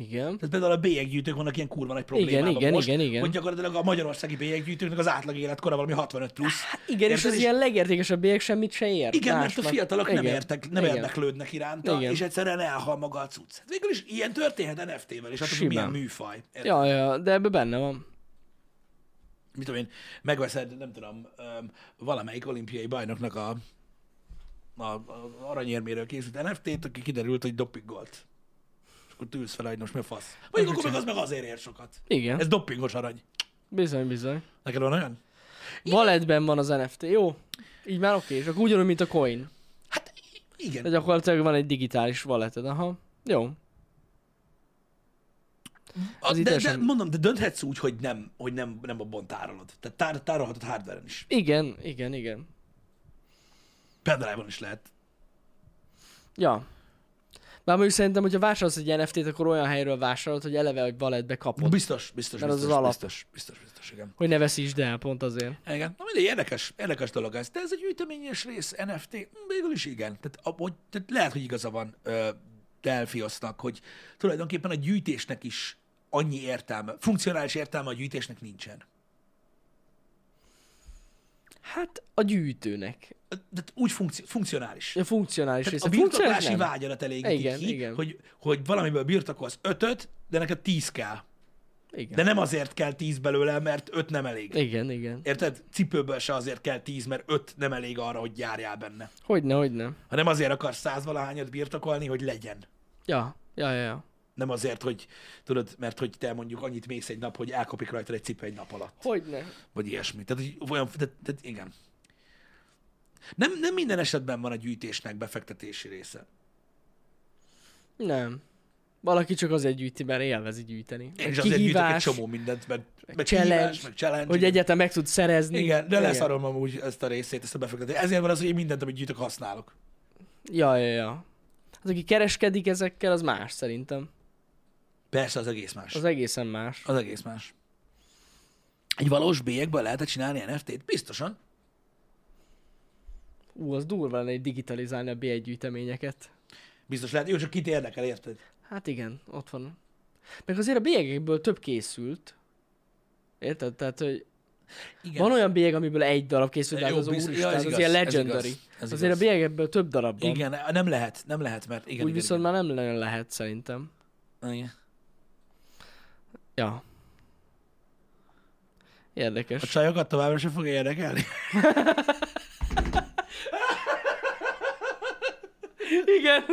S2: Igen.
S1: Tehát például a bélyeggyűjtők vannak ilyen kurva nagy problémában
S2: igen,
S1: most,
S2: igen, igen.
S1: hogy gyakorlatilag a magyarországi bélyeggyűjtőknek az átlag életkora valami 65 plusz.
S2: Hát Igen, és
S1: Érted?
S2: az ilyen legértékesebbiek semmit se ér.
S1: Igen,
S2: Más
S1: mert a
S2: meg-
S1: fiatalok nem,
S2: igen,
S1: értek, nem
S2: igen.
S1: érdeklődnek iránta,
S2: Igen.
S1: és egyszerűen elhal maga a cucc. Hát végül is ilyen történhet NFT-vel, és attól, hogy milyen
S2: Simán.
S1: műfaj. Érted?
S2: Ja, ja, de ebben benne van.
S1: Mit tudom én, megveszed, nem tudom, öm, valamelyik olimpiai bajnoknak a, a, a aranyérméről készült NFT-t, aki kiderült, hogy dopingolt. És akkor tűz fel, hogy most mi a fasz. Vagy akkor meg az meg azért ér sokat.
S2: Igen,
S1: Ez dopingos arany.
S2: bizony, bizony.
S1: Neked van olyan?
S2: Valetben van az NFT, jó? Így már oké, és akkor ugyanúgy, mint a coin.
S1: Hát i- igen.
S2: De gyakorlatilag van egy digitális valeted, aha. Jó.
S1: A,
S2: az
S1: de, de,
S2: idősen-
S1: mondom, de dönthetsz úgy, hogy nem, hogy nem, nem abban tárolod. Tehát tár, tárolhatod hardware is.
S2: Igen, igen, igen.
S1: Pendrive-on is lehet.
S2: Ja. Bár mondjuk szerintem, hogyha vásárolsz egy NFT-t, akkor olyan helyről vásárolod, hogy eleve egy valetbe kapod.
S1: Biztos, biztos,
S2: Mert az
S1: biztos,
S2: az alap.
S1: biztos, biztos, biztos, igen.
S2: Hogy ne veszítsd el, pont azért.
S1: Igen, na mindegy, érdekes, érdekes dolog ez. De ez egy gyűjteményes rész, NFT, hm, végül is igen. Tehát, ahogy, tehát lehet, hogy igaza van ö, Delphiosznak, hogy tulajdonképpen a gyűjtésnek is annyi értelme, funkcionális értelme a gyűjtésnek nincsen.
S2: Hát a gyűjtőnek.
S1: Ö, De úgy funkci- funkcionális.
S2: A funkcionális
S1: Tehát
S2: része.
S1: a
S2: Funkcionális
S1: birtoklási
S2: nem.
S1: vágyadat elégíti
S2: Igen,
S1: ki,
S2: igen.
S1: Hogy, hogy valamiből birtokolsz ötöt, de neked tíz kell.
S2: Igen.
S1: De nem azért kell tíz belőle, mert öt nem elég.
S2: Igen, igen.
S1: Érted? Cipőből se azért kell tíz, mert öt nem elég arra, hogy járjál benne.
S2: Hogyne, hogyne.
S1: Hanem azért akarsz százvalahányat birtokolni, hogy legyen.
S2: Ja, ja, ja, ja.
S1: Nem azért, hogy tudod, mert hogy te mondjuk annyit mész egy nap, hogy elkopik rajta egy cipő egy nap alatt.
S2: Hogyne.
S1: Vagy ilyesmi. Tehát, hogy olyan, tehát, tehát igen. Nem, nem minden esetben van a gyűjtésnek befektetési része.
S2: Nem. Valaki csak azért gyűjti, mert élvezi gyűjteni.
S1: Én
S2: Meg
S1: is azért gyűjtök egy csomó mindent, meg, meg
S2: challenge,
S1: kihívás, meg challenge.
S2: hogy
S1: igen.
S2: egyetem meg tudsz szerezni.
S1: igen, de leszarom amúgy ezt a részét, ezt a befektetést. Ezért van az, hogy én mindent, amit gyűjtök, használok.
S2: Ja, ja, ja. Az, aki kereskedik ezekkel, az más szerintem.
S1: Persze, az egész más.
S2: Az egészen más.
S1: Az egész más. Egy valós bélyekből lehet csinálni NFT-t? Biztosan.
S2: Ú, az durva lenne így digitalizálni a B1 gyűjteményeket.
S1: Biztos lehet. Jó, csak kit érdekel, érted?
S2: Hát igen, ott van. Meg azért a bélyegekből több készült. Érted? Tehát, hogy
S1: Igen.
S2: Igen. Van olyan bélyeg, amiből egy darab készült, de
S1: Jó,
S2: az az
S1: biztos-
S2: úristen,
S1: ja, ez
S2: ja, az
S1: igaz,
S2: ilyen
S1: ez
S2: legendary.
S1: igaz, ez
S2: Azért
S1: igaz.
S2: a bélyegebből több darab van. Igen,
S1: Igen, nem lehet, nem lehet, mert igen.
S2: igen, Úgy
S1: igen,
S2: viszont igen. már nem nagyon lehet szerintem.
S1: igen. igen.
S2: Ja.
S1: A
S2: Érdekes.
S1: csajokat továbbra sem fogja érdekelni.
S2: Igen.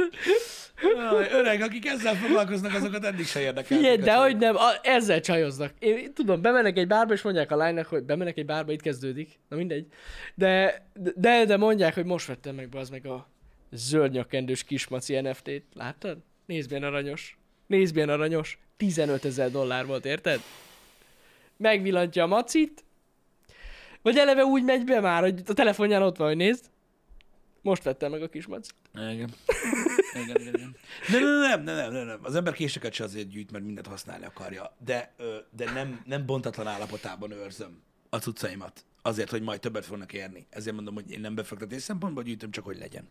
S1: Jaj, [LAUGHS] Öreg, akik ezzel foglalkoznak, azokat eddig se érdekel.
S2: Figyelj, de hogy nem, a, ezzel csajoznak. Én, én tudom, bemenek egy bárba, és mondják a lánynak, hogy bemenek egy bárba, itt kezdődik. Na mindegy. De, de, de mondják, hogy most vettem meg be az meg a zöld nyakkendős kismaci NFT-t. Láttad? Nézd, milyen aranyos. Nézd, milyen aranyos. 15 ezer dollár volt, érted? Megvillantja a macit. Vagy eleve úgy megy be már, hogy a telefonján ott van, hogy nézd. Most vettem meg a kismacit.
S1: Igen. Igen, igen, igen. De nem, nem, nem, nem, nem. Az ember késeket se azért gyűjt, mert mindent használni akarja. De, ö, de nem, nem bontatlan állapotában őrzöm a cuccaimat. Azért, hogy majd többet fognak érni. Ezért mondom, hogy én nem befektetés szempontból gyűjtöm, csak hogy legyen.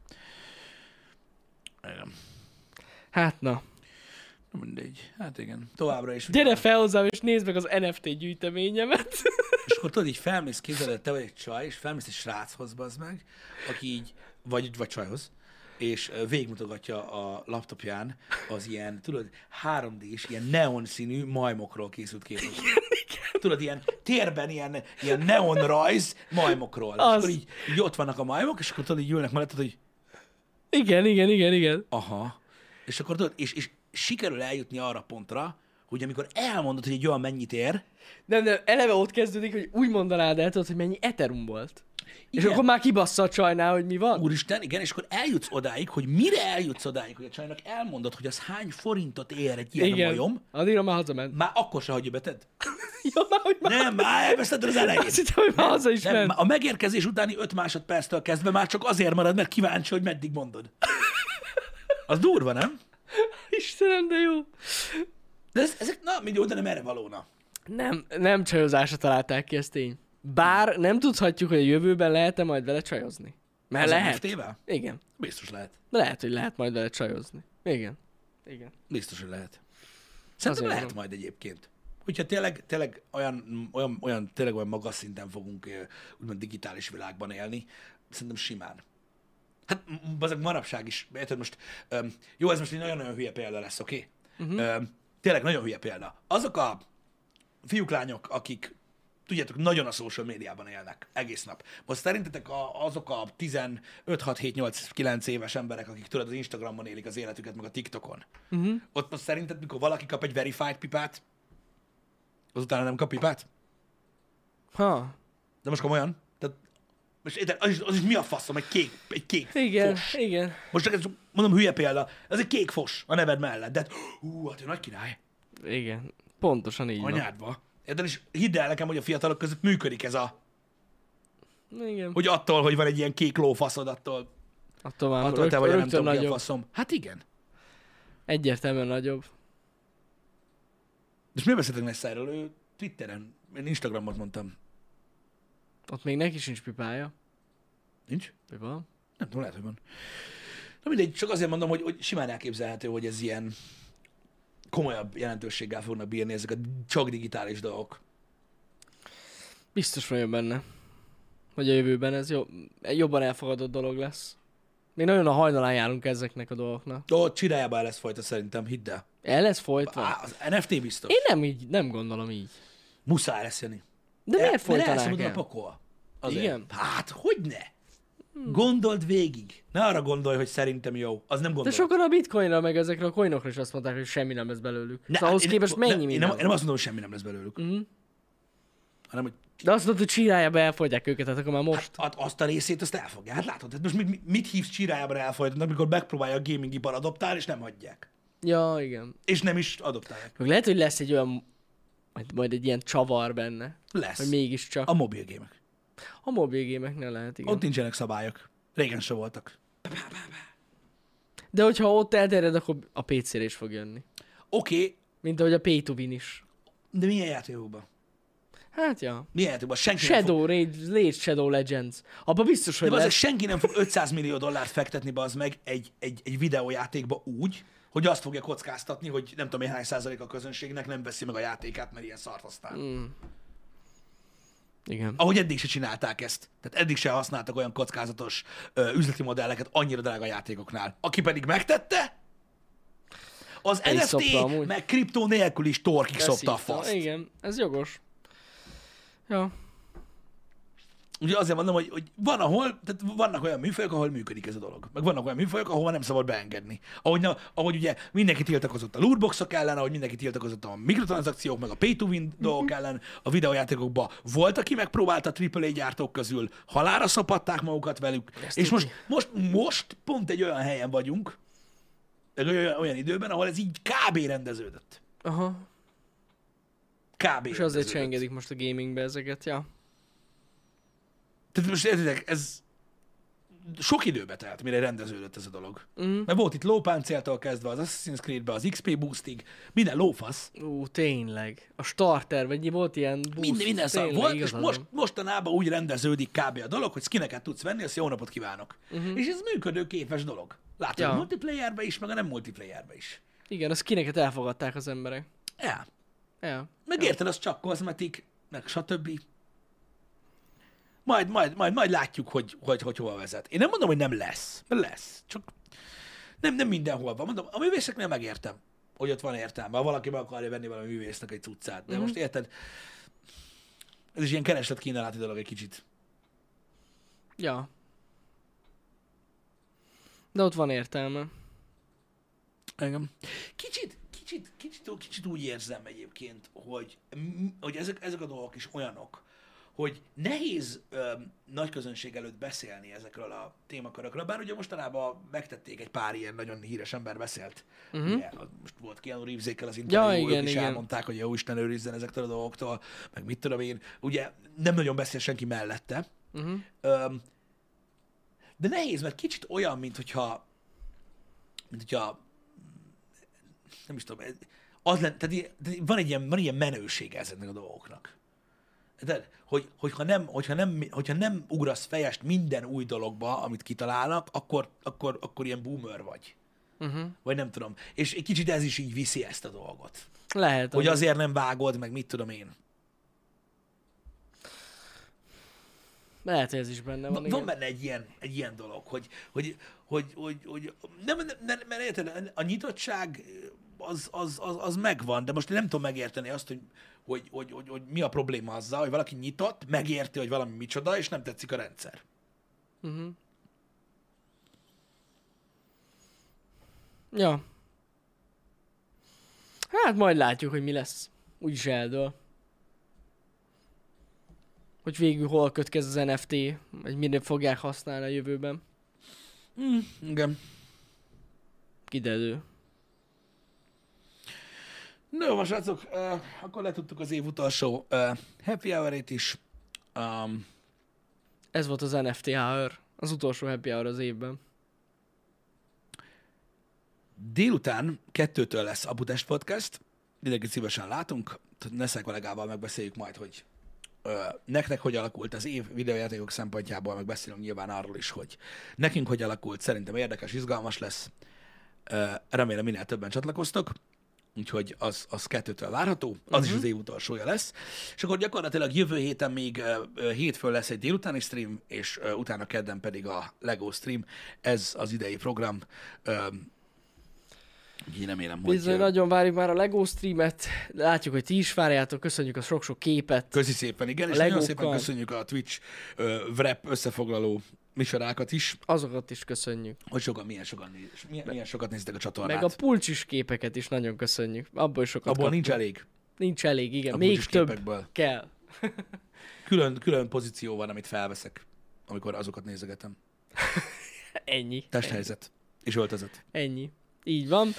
S1: Igen.
S2: Hát na.
S1: Na Mindegy. Hát igen. Továbbra is.
S2: Gyere fel hozzám, és nézd meg az NFT gyűjteményemet. [LAUGHS]
S1: És akkor tudod, így felmész, képzeled, te vagy egy csaj, és felmész egy sráchoz, bazd meg, aki így, vagy, vagy csajhoz, és ö, végigmutogatja a laptopján az ilyen, tudod, 3D-s, ilyen neon színű majmokról készült képet. Tudod, ilyen térben ilyen, ilyen neon rajz majmokról. Az. És
S2: Az.
S1: akkor így, így, ott vannak a majmok, és akkor tudod, így ülnek mellett, hogy
S2: Igen, igen, igen, igen.
S1: Aha. És akkor tudod, és, és sikerül eljutni arra a pontra, hogy amikor elmondod, hogy egy olyan mennyit ér,
S2: Nem, nem, eleve ott kezdődik, hogy úgy mondanád el, tudod, hogy mennyi Ethereum volt. Igen.
S1: Igen.
S2: És akkor már kibassza a csajnál, hogy mi van.
S1: Úristen, igen, és akkor eljutsz odáig, hogy mire eljutsz odáig, hogy a csajnak elmondod, hogy az hány forintot ér egy ilyen Igen. majom,
S2: Addigra már
S1: [LAUGHS]
S2: hazament.
S1: már akkor se hagyja beted.
S2: Ja, már, hogy már...
S1: Nem, már elveszted az elejét.
S2: [LAUGHS] Azt hittem, hogy már haza is
S1: Nem,
S2: ment.
S1: a megérkezés utáni 5 másodperctől kezdve már csak azért marad, mert kíváncsi, hogy meddig mondod. Az durva, nem?
S2: Istenem, de jó.
S1: De ez, ezek, na, mindig oda nem erre valóna.
S2: Nem, nem csajozásra találták ki, ez tény. Bár nem tudhatjuk, hogy a jövőben lehet-e majd vele csajozni. Mert
S1: Az
S2: lehet.
S1: NFT-vel?
S2: Igen.
S1: Biztos lehet.
S2: Lehet, hogy lehet majd vele csajozni. Igen. Igen.
S1: Biztos, hogy lehet. Szerintem
S2: Azért
S1: lehet
S2: van.
S1: majd egyébként. Hogyha tényleg, tényleg olyan, olyan, olyan, tényleg olyan magas szinten fogunk ö, úgymond digitális világban élni, szerintem simán. Hát m- bazeg manapság is, érted most, öm, jó, ez most egy nagyon-nagyon hülye példa lesz, oké? Okay?
S2: Mhm.
S1: Uh-huh. tényleg nagyon hülye példa. Azok a fiúk, lányok, akik tudjátok, nagyon a social médiában élnek egész nap. Most szerintetek a, azok a 15, 6, 7, 8, 9 éves emberek, akik tudod, az Instagramon élik az életüket, meg a TikTokon,
S2: Mhm.
S1: uh-huh. ott most szerinted, mikor valaki kap egy verified pipát, azután nem kap pipát?
S2: Ha.
S1: De most komolyan? Tehát, most érted, az is, az is mi a faszom, egy kék, egy kék
S2: Igen,
S1: fos.
S2: igen.
S1: Most csak ez, mondom, hülye példa, ez egy kék fos a neved mellett, de hát, hú, hát ő nagy király.
S2: Igen. Pontosan így van.
S1: anyádba. Érted? És hidd el nekem, hogy a fiatalok között működik ez a,
S2: Igen.
S1: hogy attól, hogy van egy ilyen kék lófaszod, attól,
S2: Attól már
S1: attól te
S2: rögtön,
S1: vagy a nem
S2: rögtön
S1: tudom, mi a
S2: nagyobb.
S1: faszom. Hát igen.
S2: Egyértelműen nagyobb.
S1: És miért beszéltek Nessájról? Ő Twitteren, én Instagramot mondtam.
S2: Ott még neki sincs pipája.
S1: Nincs?
S2: Vagy van?
S1: Nem tudom, lehet, hogy van. Na mindegy, csak azért mondom, hogy, hogy simán elképzelhető, hogy ez ilyen komolyabb jelentőséggel fognak bírni ezek a csak digitális dolgok.
S2: Biztos vagyok benne. Hogy a jövőben ez jobb, jobban elfogadott dolog lesz. Még nagyon a hajnalán járunk ezeknek a dolgoknak.
S1: Ó, csiráljában lesz folyta szerintem, hidd el.
S2: El lesz folytva?
S1: Á, az NFT biztos.
S2: Én nem így, nem gondolom így.
S1: Muszáj lesz jönni.
S2: De miért folytanák
S1: elszabadul a
S2: el?
S1: pokol.
S2: Igen? Hmm.
S1: Hát, hogy ne? Gondold végig. Ne arra gondolj, hogy szerintem jó. Az nem
S2: De
S1: gondolod.
S2: sokan a bitcoinra meg ezekre a coinokra is azt mondták, hogy semmi nem lesz belőlük.
S1: Ne,
S2: Ne, szóval ahhoz
S1: én-
S2: képest
S1: ne,
S2: mennyi
S1: én,
S2: minden Hmm.
S1: nem, én nem
S2: van?
S1: azt mondom, hogy semmi nem lesz belőlük. Mm. Hanem, hogy
S2: De azt mondod, hogy csirájába elfogyják őket, hát akkor már most.
S1: hát azt a részét, azt elfogják. Hát látod, hát most mit, mit hívsz csirájában elfolytatnak, mikor megpróbálja a gaming ipar adoptálni, és nem hagyják.
S2: Ja, igen.
S1: És nem is adoptálják.
S2: Meg lehet, hogy lesz egy olyan, majd, majd egy ilyen csavar benne,
S1: Lesz.
S2: hogy mégiscsak.
S1: A
S2: A,
S1: mobilgémek.
S2: a mobilgémeknél lehet, igen.
S1: Ott nincsenek szabályok. Régen se voltak.
S2: De hogyha ott elterjed, akkor a PC-re is fog jönni.
S1: Oké, okay,
S2: Mint ahogy a pay to win is.
S1: de milyen játékokban?
S2: Hát ja.
S1: Milyen játékokban? Senki nem fog,
S2: Shadow, Rage, Rage Shadow Legends. Abba biztos, hogy
S1: de azért
S2: lesz.
S1: senki nem fog 500 millió dollárt fektetni az meg egy, egy, egy videójátékba úgy, hogy azt fogja kockáztatni, hogy nem tudom, én hány százalék a közönségnek nem veszi meg a játékát, mert ilyen szart aztán.
S2: Igen.
S1: ahogy eddig se csinálták ezt. Tehát eddig se használtak olyan kockázatos ö, üzleti modelleket annyira drága játékoknál. Aki pedig megtette, az
S2: is
S1: NFT
S2: szopta amúgy.
S1: meg kriptó nélkül is torkig szopta a
S2: Beszívta.
S1: faszt.
S2: Igen, ez jogos. Ja.
S1: Ugye azért mondom, hogy, hogy van, ahol, tehát vannak olyan műfajok, ahol működik ez a dolog. Meg vannak olyan műfajok, ahol nem szabad beengedni. Ahogy, na, ahogy ugye mindenki tiltakozott a lootboxok ellen, ahogy mindenki tiltakozott a mikrotranszakciók, meg a pay to
S2: Mhm.
S1: win dolgok ellen, a videójátékokban volt, aki megpróbálta a AAA gyártók közül, halára szapatták magukat velük.
S2: Ezt
S1: és
S2: tudni.
S1: most, most, most pont egy olyan helyen vagyunk, egy olyan, olyan időben, ahol ez így kb. rendeződött.
S2: Aha.
S1: Kb.
S2: És azért se
S1: rendeződött.
S2: engedik most a gamingbe ezeket, ja.
S1: Tehát most értitek, ez sok időbe telt, mire rendeződött ez a dolog. Mm. Mert volt itt lópáncéltól kezdve az Assassin's Creedbe, az XP boostig, minden lófasz,
S2: Ú, tényleg. A starter, vagy volt ilyen boost,
S1: minden, minden szar
S2: tényleg,
S1: volt, és
S2: igazad
S1: most,
S2: van.
S1: mostanában úgy rendeződik kb. a dolog, hogy skineket tudsz venni, azt jó napot kívánok. Mm-hmm. És ez működőképes dolog. Látod ja.
S2: Ja.
S1: a multiplayerbe is, meg a nem multiplayerbe is.
S2: Igen, az kineket elfogadták az emberek.
S1: Ja.
S2: Ja.
S1: Meg érted, az csak kozmetik, meg stb. Majd, majd, majd, majd látjuk, hogy, hogy, hogy hova vezet. Én nem mondom, hogy nem lesz. Mert lesz. Csak nem, nem mindenhol van. Mondom, a művészeknél megértem, hogy ott van értelme. Ha valaki meg akarja venni valami művésznek egy cuccát. De mm-hmm. most érted, ez is ilyen kereslet-kínálati dolog egy kicsit.
S2: Ja. De ott van értelme.
S1: Engem. Kicsit, kicsit, kicsit, kicsit úgy érzem egyébként, hogy, m- hogy ezek, ezek a dolgok is olyanok, hogy nehéz öm, nagy közönség előtt beszélni ezekről a témakörökről, bár ugye mostanában megtették egy pár ilyen nagyon híres ember beszélt. Uh-huh. Ugye, a- most volt Keanu reeves az interjú, ja, igen, ők is igen. elmondták, hogy jó Isten őrizzen ezektől a dolgoktól, meg mit tudom én. Ugye nem nagyon beszél senki mellette. Uh-huh. Öm, de nehéz, mert kicsit olyan, mint hogyha, mint hogyha nem is tudom, ez- az lenne, tehát, ilyen- tehát van, egy ilyen, van ilyen menőség ezeknek a dolgoknak. De, hogy, hogyha, nem, hogyha, nem, hogyha nem ugrasz fejest minden új dologba, amit kitalálnak, akkor, akkor, akkor ilyen boomer vagy. Uh-huh. Vagy nem tudom. És egy kicsit ez is így viszi ezt a dolgot.
S2: Lehet.
S1: Hogy
S2: amúgy.
S1: azért nem vágod, meg mit tudom én.
S2: Lehet, hogy ez is benne van.
S1: Van, van benne egy ilyen, egy ilyen dolog, hogy, hogy, hogy, hogy, hogy nem, nem, nem, mert érted, a nyitottság az, az, az, az megvan, de most én nem tudom megérteni azt, hogy, hogy, hogy, hogy, hogy mi a probléma azzal, hogy valaki nyitott, megérti, hogy valami micsoda, és nem tetszik a rendszer.
S2: Ja. Hát majd látjuk, hogy mi lesz. Úgyis eldől. Hogy végül hol kötkez az NFT, vagy mire fogják használni a jövőben.
S1: Igen.
S2: Kiderül.
S1: Na jó, van, srácok, uh, akkor letudtuk az év utolsó uh, happy hour is. Um,
S2: Ez volt az NFT HR. Az utolsó happy hour az évben.
S1: Délután kettőtől lesz a Budest Podcast. Mindenkit szívesen látunk. Neszek kollégával megbeszéljük majd, hogy ö, nektek hogy alakult az év videójátékok szempontjából, meg beszélünk nyilván arról is, hogy nekünk hogy alakult. Szerintem érdekes, izgalmas lesz. Ö, remélem minél többen csatlakoztok. Úgyhogy az, az kettőtől várható, az uh-huh. is az év utolsója lesz. És akkor gyakorlatilag jövő héten még ö, ö, hétfőn lesz egy délutáni stream, és ö, utána kedden pedig a LEGO stream. Ez az idei program. Ö, Úgyhogy Én remélem, hogy...
S2: Bizony, nagyon várjuk már a LEGO streamet. Látjuk, hogy ti is várjátok. Köszönjük a sok-sok képet.
S1: Köszi szépen, igen, és
S2: A
S1: nagyon
S2: legókkal.
S1: szépen köszönjük a Twitch ö, wrap összefoglaló műsorákat is,
S2: Azokat is köszönjük.
S1: hogy sokan, milyen, sokan néz, milyen, milyen sokat néztek a csatornát.
S2: Meg a pulcsis képeket is nagyon köszönjük. Abból is sokat
S1: hát. Abból
S2: kap-
S1: nincs elég.
S2: nincs elég, igen.
S1: A
S2: Még
S1: pulcsis
S2: több
S1: képekből.
S2: kell.
S1: Külön, külön pozíció van, amit felveszek, amikor azokat nézegetem.
S2: Ennyi.
S1: Testhelyzet és öltözet.
S2: Ennyi. Így van.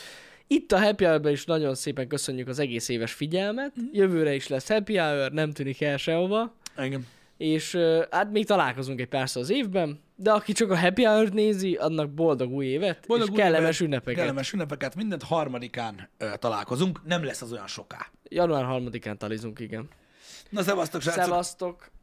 S2: Itt a Happy hour is nagyon szépen köszönjük az egész éves figyelmet. Jövőre is lesz Happy Hour, nem tűnik el sehova.
S1: Engem.
S2: És ö, hát még találkozunk egy párszor az évben, de aki csak a Happy Hour-t nézi, annak boldog új évet, boldog és új kellemes évet, ünnepeket. Kellemes.
S1: Kellemes ünnepeket. Mindent harmadikán ö, találkozunk. Nem lesz az olyan soká.
S2: Január 3-án talizunk, igen.
S1: Na, szevasztok, srácok!
S2: Szevasztok!